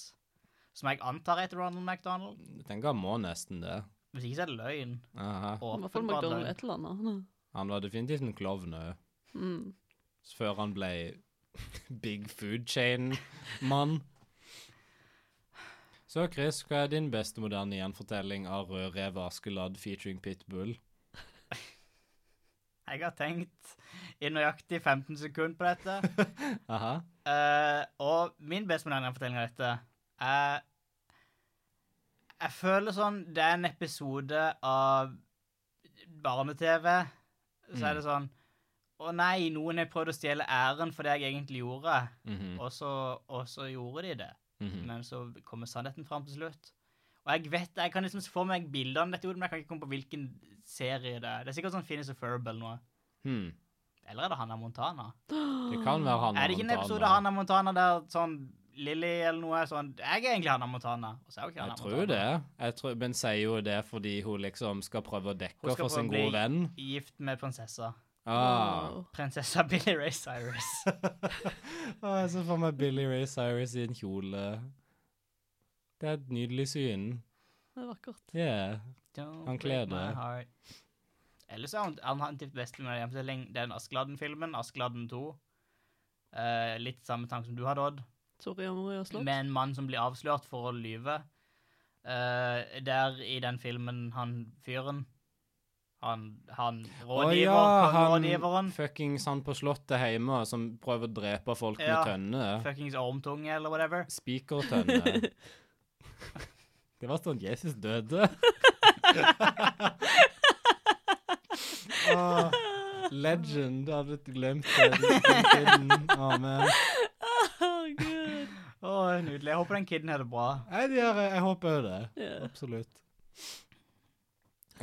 [SPEAKER 3] Som jeg antar heter Ronald McDonald.
[SPEAKER 1] Jeg tenker han må nesten det.
[SPEAKER 3] Hvis ikke så er det løgn.
[SPEAKER 1] Aha.
[SPEAKER 5] I hvert fall
[SPEAKER 3] Åpenbart
[SPEAKER 5] McDonald
[SPEAKER 3] løgn.
[SPEAKER 5] et eller annet.
[SPEAKER 1] Han var definitivt en klovn òg.
[SPEAKER 5] Mm.
[SPEAKER 1] Før han ble [LAUGHS] big food chain-mann. Så Chris, hva er din beste moderne gjenfortelling av Rød rev Askeladd featuring Pitbull?
[SPEAKER 3] Jeg har tenkt i nøyaktig 15 sekunder på
[SPEAKER 5] [LAUGHS]
[SPEAKER 3] dette.
[SPEAKER 1] Aha.
[SPEAKER 3] Eh, og min best moderne fortelling av dette er Jeg føler sånn Det er en episode av barne-TV. Så er det
[SPEAKER 5] Mm.
[SPEAKER 3] sånn Å nei, noen har prøvd å stjele æren for det jeg egentlig gjorde,
[SPEAKER 5] Mm.
[SPEAKER 1] Mhm,
[SPEAKER 3] og så, og så gjorde de det.
[SPEAKER 1] mhm.
[SPEAKER 3] Men så kommer sannheten fram til slutt. Og jeg vet, jeg kan liksom få meg bildene, dette, men jeg kan ikke komme på hvilken serie det er. Det er sikkert sånn Finnis og Ferb eller noe.
[SPEAKER 1] Hmm.
[SPEAKER 3] Eller er det Hannah Montana?
[SPEAKER 1] Det kan
[SPEAKER 5] [GASPS]
[SPEAKER 1] være han
[SPEAKER 3] Er det ikke en episode av Hannah Montana der sånn Lilly eller noe er sånn Jeg er egentlig Hannah Montana. Og så er hun ikke
[SPEAKER 1] Jeg
[SPEAKER 3] Hannah
[SPEAKER 1] tror
[SPEAKER 3] Montana.
[SPEAKER 1] det. Jeg tror, men sier jo det fordi hun liksom skal prøve å dekke
[SPEAKER 3] Hun skal
[SPEAKER 1] for sin
[SPEAKER 3] prøve å bli-
[SPEAKER 1] gode venn.
[SPEAKER 3] Gift med prinsessa.
[SPEAKER 1] Ah. [LAUGHS]
[SPEAKER 5] Wow.
[SPEAKER 3] Prinsessa [LAUGHS] Billy Ray Cyrus.
[SPEAKER 1] Å, jeg ser for meg Billy Ray Cyrus i en kjole. Det er et nydelig syn.
[SPEAKER 5] Det er vakkert.
[SPEAKER 1] Yeah.
[SPEAKER 3] Don't
[SPEAKER 1] Han
[SPEAKER 3] break
[SPEAKER 1] kler
[SPEAKER 3] my
[SPEAKER 1] det.
[SPEAKER 3] heart. Ellers er han antatt best med hjemmefortelling. Den Askeladden-filmen, Askeladden 2. Eh, litt samme tanke som du hadde, Odd.
[SPEAKER 5] Sorry, Amoria slått. [LAUGHS]
[SPEAKER 3] Med en mann som blir avslørt for å lyve. Eh, der i den filmen han fyren Han, han
[SPEAKER 1] Å
[SPEAKER 3] rådgiver, kongerådgiveren.
[SPEAKER 1] han fuckings han på slottet hjemme som prøver å drepe folk
[SPEAKER 3] Ja.
[SPEAKER 1] med tønne.
[SPEAKER 3] Fuckings ormtunge, eller whatever.
[SPEAKER 1] Spikertønne. eh. [LAUGHS] det var sånn Jesus [LAUGHS] døde. Åh, Ah, legend. Jeg hadde glemt det. den tiden. Åh, man.
[SPEAKER 5] Oh, Gud.
[SPEAKER 3] Å, Nydelig. Jeg håper den kiden har det bra.
[SPEAKER 1] Nei, de har, jeg håper jo det.
[SPEAKER 5] Ja.
[SPEAKER 1] Absolutt.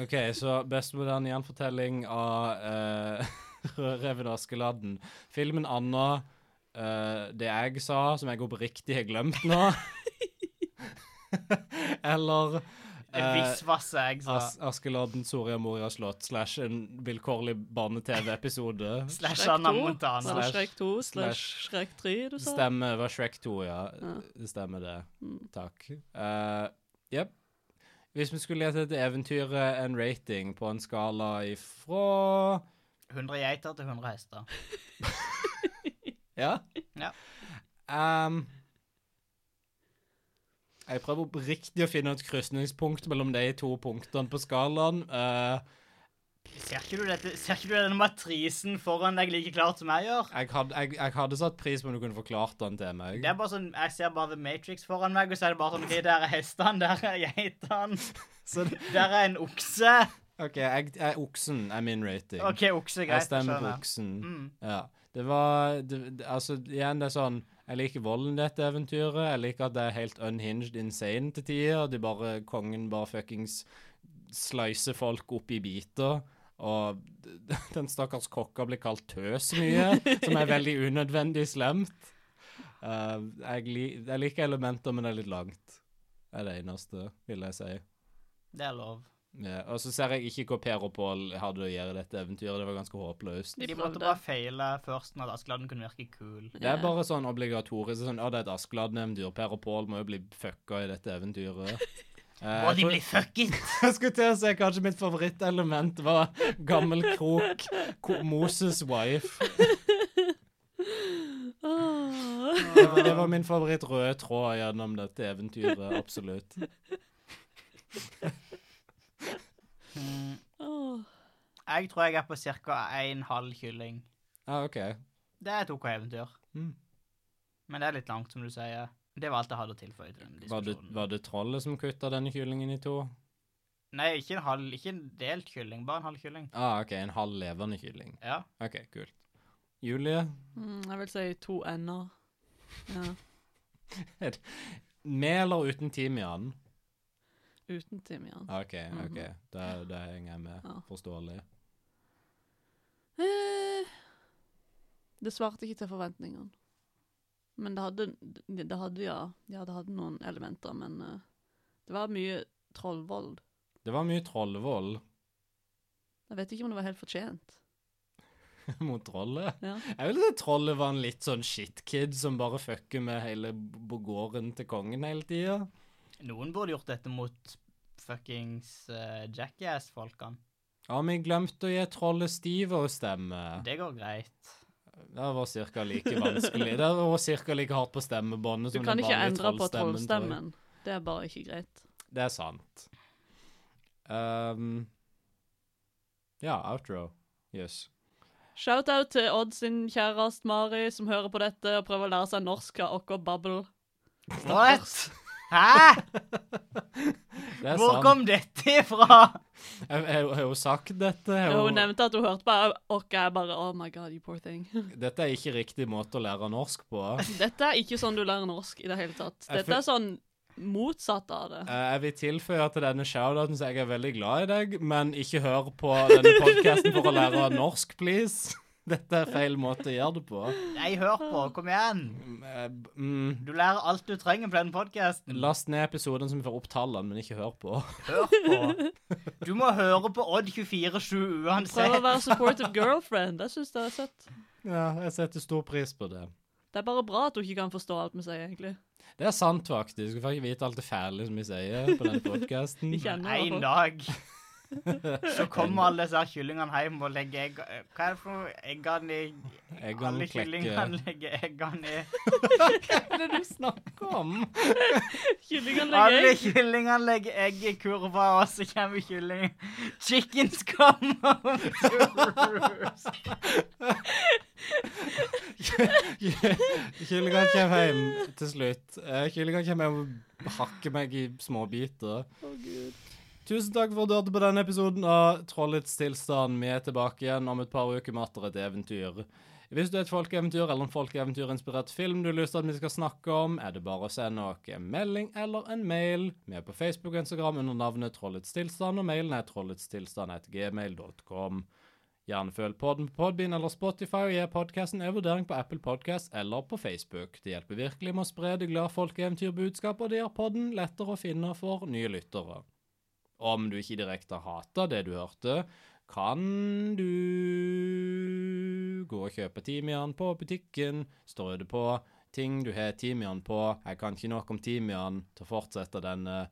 [SPEAKER 1] OK, så best moderne gjenfortelling av eh, [LAUGHS] Rødreven og Askeladden. Filmen Anna, eh, det jeg sa, som jeg oppriktig har glemt nå. [LAUGHS] Eller eh,
[SPEAKER 3] Visvasse, jeg sa.
[SPEAKER 1] As Askeladden, Soria Moria slott slash en vilkårlig barne-TV-episode.
[SPEAKER 3] Slash
[SPEAKER 5] Shrek
[SPEAKER 3] Anna
[SPEAKER 5] 2? Var
[SPEAKER 3] Montana.
[SPEAKER 5] det
[SPEAKER 1] Slash-
[SPEAKER 5] Shrek 2 slash
[SPEAKER 1] slash-
[SPEAKER 5] Shrek 3 du sa?
[SPEAKER 1] Stemmer. Det var Shrek 2, ja.
[SPEAKER 5] Ja.
[SPEAKER 1] Det stemmer det.
[SPEAKER 5] Mm.
[SPEAKER 1] Takk. Eh, Jepp. Hvis vi skulle gitt dette eventyret eh, en rating på en skala ifra
[SPEAKER 3] 100 geiter til 100 hester.
[SPEAKER 1] Ja.
[SPEAKER 3] Ja.
[SPEAKER 1] Ehm, jeg prøver oppriktig å finne et krysningspunkt mellom de to punktene på skalaen. Eh,
[SPEAKER 3] Ser ikke du, dette, ser ikke du denne matrisen foran deg like klart som jeg gjør?
[SPEAKER 1] jeg, hadde, jeg, jeg hadde satt pris på om du kunne forklart den til meg.
[SPEAKER 3] Det er bare sånn, Jeg ser bare The Matrix foran meg, og så er det bare sånn OK, der er hestene, der er geitene,
[SPEAKER 1] [LAUGHS] Så, det-
[SPEAKER 3] der er en okse.
[SPEAKER 1] OK, jeg, jeg, oksen er min rating.
[SPEAKER 3] OK, okse,
[SPEAKER 1] jeg
[SPEAKER 3] greit.
[SPEAKER 1] stemmer på
[SPEAKER 3] skjønner.
[SPEAKER 1] oksen.
[SPEAKER 3] Mm.
[SPEAKER 1] Ja. Det var det, det- Altså, igjen, det er sånn Jeg liker volden i dette eventyret. Jeg liker at det er helt unhinged insane til tider. De bare Kongen bare fuckings slicer folk opp i biter. Og [LAUGHS] d- d- den stakkars kokka blir kalt tøs mye, som er veldig unødvendig slemt. Eh, jeg, li, jeg liker elementer, men det er litt langt. Det er det eneste, vil jeg si.
[SPEAKER 3] Det er lov.
[SPEAKER 1] Ja, og så ser jeg ikke hva Per og Pål hadde å gjøre i dette eventyret. Det var ganske håpløst.
[SPEAKER 5] De
[SPEAKER 3] De måtte
[SPEAKER 5] prøvde.
[SPEAKER 3] bare feile først, sånn at Askeladden kunne virke kul.
[SPEAKER 1] Det er bare sånn obligatorisk sånn, Å, det er et Askeladden-eventyr. Per og Pål må jo bli fucka i dette
[SPEAKER 5] [LAUGHS]
[SPEAKER 1] eventyret. Eh,
[SPEAKER 8] Må
[SPEAKER 1] jeg,
[SPEAKER 8] de
[SPEAKER 1] tror,
[SPEAKER 8] bli fucket?
[SPEAKER 1] [LAUGHS] jeg skulle til å si kanskje mitt favorittelement var gammel krok, ko- Moses wife.
[SPEAKER 5] [GASPS] Åh.
[SPEAKER 1] Det var, det var min favoritt røde tråd gjennom dette eventyret, absolutt.
[SPEAKER 3] Mm.
[SPEAKER 5] Åh.
[SPEAKER 3] Jeg tror jeg er på ca. en halv kylling.
[SPEAKER 1] Ja, Ah, OK.
[SPEAKER 3] Det er et OK eventyr.
[SPEAKER 1] Mm.
[SPEAKER 3] Men det er litt langt, som du sier. Det var alt jeg hadde å tilføye til denne
[SPEAKER 1] Var det,
[SPEAKER 3] diskusjonen.
[SPEAKER 1] var det trollet som kutta denne kyllingen i to?
[SPEAKER 3] Nei, ikke en halv, ikke en delt kylling, bare en halv kylling.
[SPEAKER 1] Ah, OK, en halv levende kylling.
[SPEAKER 3] Ja.
[SPEAKER 1] OK, kult. Julie,
[SPEAKER 5] Mm, jeg vil si to ender. Ja.
[SPEAKER 1] med eller uten timian?
[SPEAKER 5] Uten timian.
[SPEAKER 1] OK, OK.
[SPEAKER 5] Mhm.
[SPEAKER 1] Da, da henger jeg med.
[SPEAKER 5] Ja.
[SPEAKER 1] Forståelig.
[SPEAKER 5] Eh, Det svarte ikke til forventningene. Men det hadde, det det hadde ja, ja, det hadde noen elementer, men eh, det var mye trollvold.
[SPEAKER 1] Det var mye trollvold [LAUGHS]
[SPEAKER 5] Jeg vet ikke om det var helt fortjent.
[SPEAKER 1] mot trollet.
[SPEAKER 5] Ja.
[SPEAKER 1] Jeg ville si trollet var en litt sånn shitkid som bare fucker med hele b- gården til kongen hele tida.
[SPEAKER 3] Noen burde gjort dette mot fuckings eh, Jackass-folkene.
[SPEAKER 1] Har vi glemt å gi trollet Steve å stemme?
[SPEAKER 3] Det går greit.
[SPEAKER 1] Det var cirka like vanskelig. Det var cirka like hardt på stemmebåndet
[SPEAKER 5] Du
[SPEAKER 1] som
[SPEAKER 5] kan
[SPEAKER 1] den
[SPEAKER 5] ikke
[SPEAKER 1] vanlige
[SPEAKER 5] endre på
[SPEAKER 1] trollstemmen, tror jeg.
[SPEAKER 5] trollstemmen. Det er bare ikke greit.
[SPEAKER 1] Det er sant. Ehm, ja, outro. Yes.
[SPEAKER 5] Shout-out til Odd sin kjæreste Mari, som hører på dette og prøver å lære seg norsk av okker babbel.
[SPEAKER 3] What?! Hæ?!
[SPEAKER 1] Det er
[SPEAKER 3] Hvor
[SPEAKER 1] sant.
[SPEAKER 3] kom dette ifra?!
[SPEAKER 1] Jeg- jeg- jeg Har hun sagt dette? Jeg-
[SPEAKER 5] Hun nevnte at hun hørte på okker. Jeg bare Oh my god, you poor thing. [LAUGHS]
[SPEAKER 1] Dette er ikke riktig måte å lære norsk på.
[SPEAKER 5] Dette er ikke sånn du lærer norsk i det hele tatt.
[SPEAKER 1] Jeg
[SPEAKER 5] Dette er sånn motsatt av det.
[SPEAKER 1] Eh, Jeg vil tilføye til denne shoutouten så jeg er veldig glad i deg, men ikke hør på denne podkasten for å lære norsk, please. [LAUGHS] Dette er feil måte å gjøre det på.
[SPEAKER 3] Nei, hør på, kom igjen!
[SPEAKER 1] Mm, eh, b- Mm.
[SPEAKER 3] Du lærer alt du trenger på denne podkasten.
[SPEAKER 1] Last ned episoden som får opp tallene, men ikke hør på.
[SPEAKER 3] Hør
[SPEAKER 5] [LAUGHS]
[SPEAKER 3] på. Du må høre på Odd
[SPEAKER 5] Prøv
[SPEAKER 3] 24-7
[SPEAKER 5] å
[SPEAKER 3] uansett.
[SPEAKER 5] være supportive girlfriend. Jeg synes det er søtt.
[SPEAKER 1] Ja, jeg setter stor pris på det.
[SPEAKER 5] Det er bare bra at hun ikke kan forstå alt vi sier, egentlig.
[SPEAKER 1] Det er sant, faktisk. Du får ikke vite alt det fæle som vi sier på denne podkasten.
[SPEAKER 5] Vi kjenner
[SPEAKER 3] En
[SPEAKER 5] henne.
[SPEAKER 3] dag
[SPEAKER 1] [LAUGHS]
[SPEAKER 3] så kommer alle disse her kyllingene hjem og legger egg Hva er det for noe? Eggene i
[SPEAKER 1] Eggene
[SPEAKER 3] Alle
[SPEAKER 1] klekker.
[SPEAKER 3] kyllingene legger eggene i
[SPEAKER 1] Hva er det du snakker om?
[SPEAKER 5] Kyllingene legger
[SPEAKER 3] Alle
[SPEAKER 5] egg.
[SPEAKER 3] kyllingene legger egg i kurva, og så kommer kyllingen Chickens come home to roost.
[SPEAKER 1] [LAUGHS] Kyllingene kommer hjem til slutt. Eh, Kyllingene kommer hjem og hakker meg i småbiter.
[SPEAKER 5] Å, Gud.
[SPEAKER 1] Tusen takk for at du hørte på denne episoden av Trollets tilstand. Vi er tilbake igjen om et par uker med atter et eventyr. Hvis du er et folkeeventyr eller en folkeeventyrinspirert film du har lyst til at vi skal snakke om, er det bare å sende oss en melding eller en mail. Vi er på Facebook og Instagram under navnet Trollets tilstand, og mailen er trolletstilstand.gmail.com. Gjerne følg podden på Podbean eller Spotify og gi podkasten en vurdering på Apple Podcast eller på Facebook. Det hjelper virkelig med å spre det glade folkeeventyrbudskapet, og det gjør podden lettere å finne for nye lyttere. Om du ikke direkte hater det du hørte, kan du gå og kjøpe timian på butikken, strø det på ting du har timian på. Jeg kan ikke nok om timian til å fortsette denne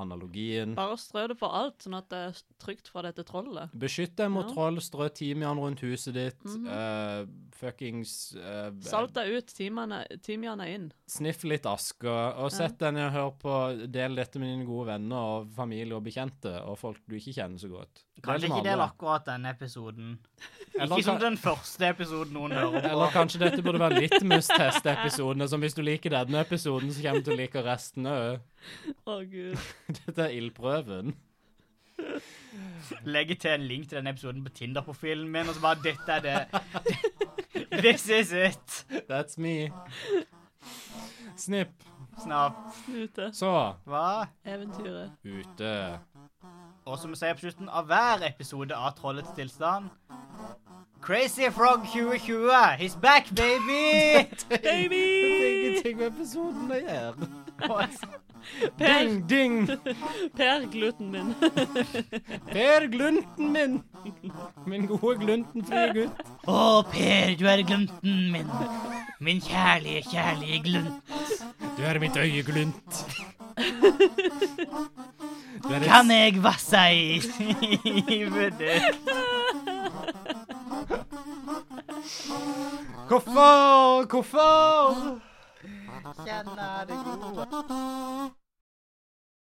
[SPEAKER 1] analogien.
[SPEAKER 5] Bare strø det på alt, sånn at det er trygt fra dette trollet.
[SPEAKER 1] Beskytt deg mot
[SPEAKER 5] Ja. Mhm.
[SPEAKER 1] troll, strø timian rundt huset ditt. eh, fuckings eh,
[SPEAKER 5] Salt deg ut, timian er timian er inn.
[SPEAKER 1] Sniff litt aske, og sett deg ned og hør på Del dette med dine gode venner og familie og bekjente og folk du ikke kjenner så godt.
[SPEAKER 3] Kanskje
[SPEAKER 1] Del med
[SPEAKER 3] ikke del
[SPEAKER 1] alle.
[SPEAKER 3] akkurat denne episoden.
[SPEAKER 1] Eller
[SPEAKER 3] Ikke som
[SPEAKER 1] kan-
[SPEAKER 3] den første episoden
[SPEAKER 1] [LAUGHS]
[SPEAKER 3] noen hører på.
[SPEAKER 1] Eller kanskje dette burde være litt must-test-episodene, som hvis du liker denne episoden, så kommer du til å like resten òg.
[SPEAKER 5] Å, gud.
[SPEAKER 1] [LAUGHS] Dette er ildprøven.
[SPEAKER 3] Legge til en link til denne episoden på Tinder-profilen min, og så bare Dette er det.
[SPEAKER 1] [LAUGHS]
[SPEAKER 3] This is it.
[SPEAKER 1] That's me. Snipp.
[SPEAKER 3] Snart.
[SPEAKER 5] Ute.
[SPEAKER 1] Så
[SPEAKER 3] Hva?
[SPEAKER 5] Eventyret.
[SPEAKER 1] ute.
[SPEAKER 3] Og som vi sier på slutten av hver episode av Trollets tilstand Crazy Frog 2020, he's back, baby!
[SPEAKER 1] Det
[SPEAKER 5] Baby!
[SPEAKER 1] er ingenting med episoden å gjøre.
[SPEAKER 5] Per,
[SPEAKER 1] Ding, ding.
[SPEAKER 5] per gluten min. [LAUGHS]
[SPEAKER 1] Per Glunten min. Min gode gluntenfrie gutt.
[SPEAKER 9] [LAUGHS] Å, Per, du er glunten min. Min kjærlige, kjærlige glunt.
[SPEAKER 1] Du er mitt øyeglunt. Du er
[SPEAKER 9] Kan
[SPEAKER 1] et,
[SPEAKER 9] jeg vasse i
[SPEAKER 3] [LAUGHS] Livet ditt.
[SPEAKER 1] hvorfor? Hvorfor?
[SPEAKER 3] Kjenner det gode.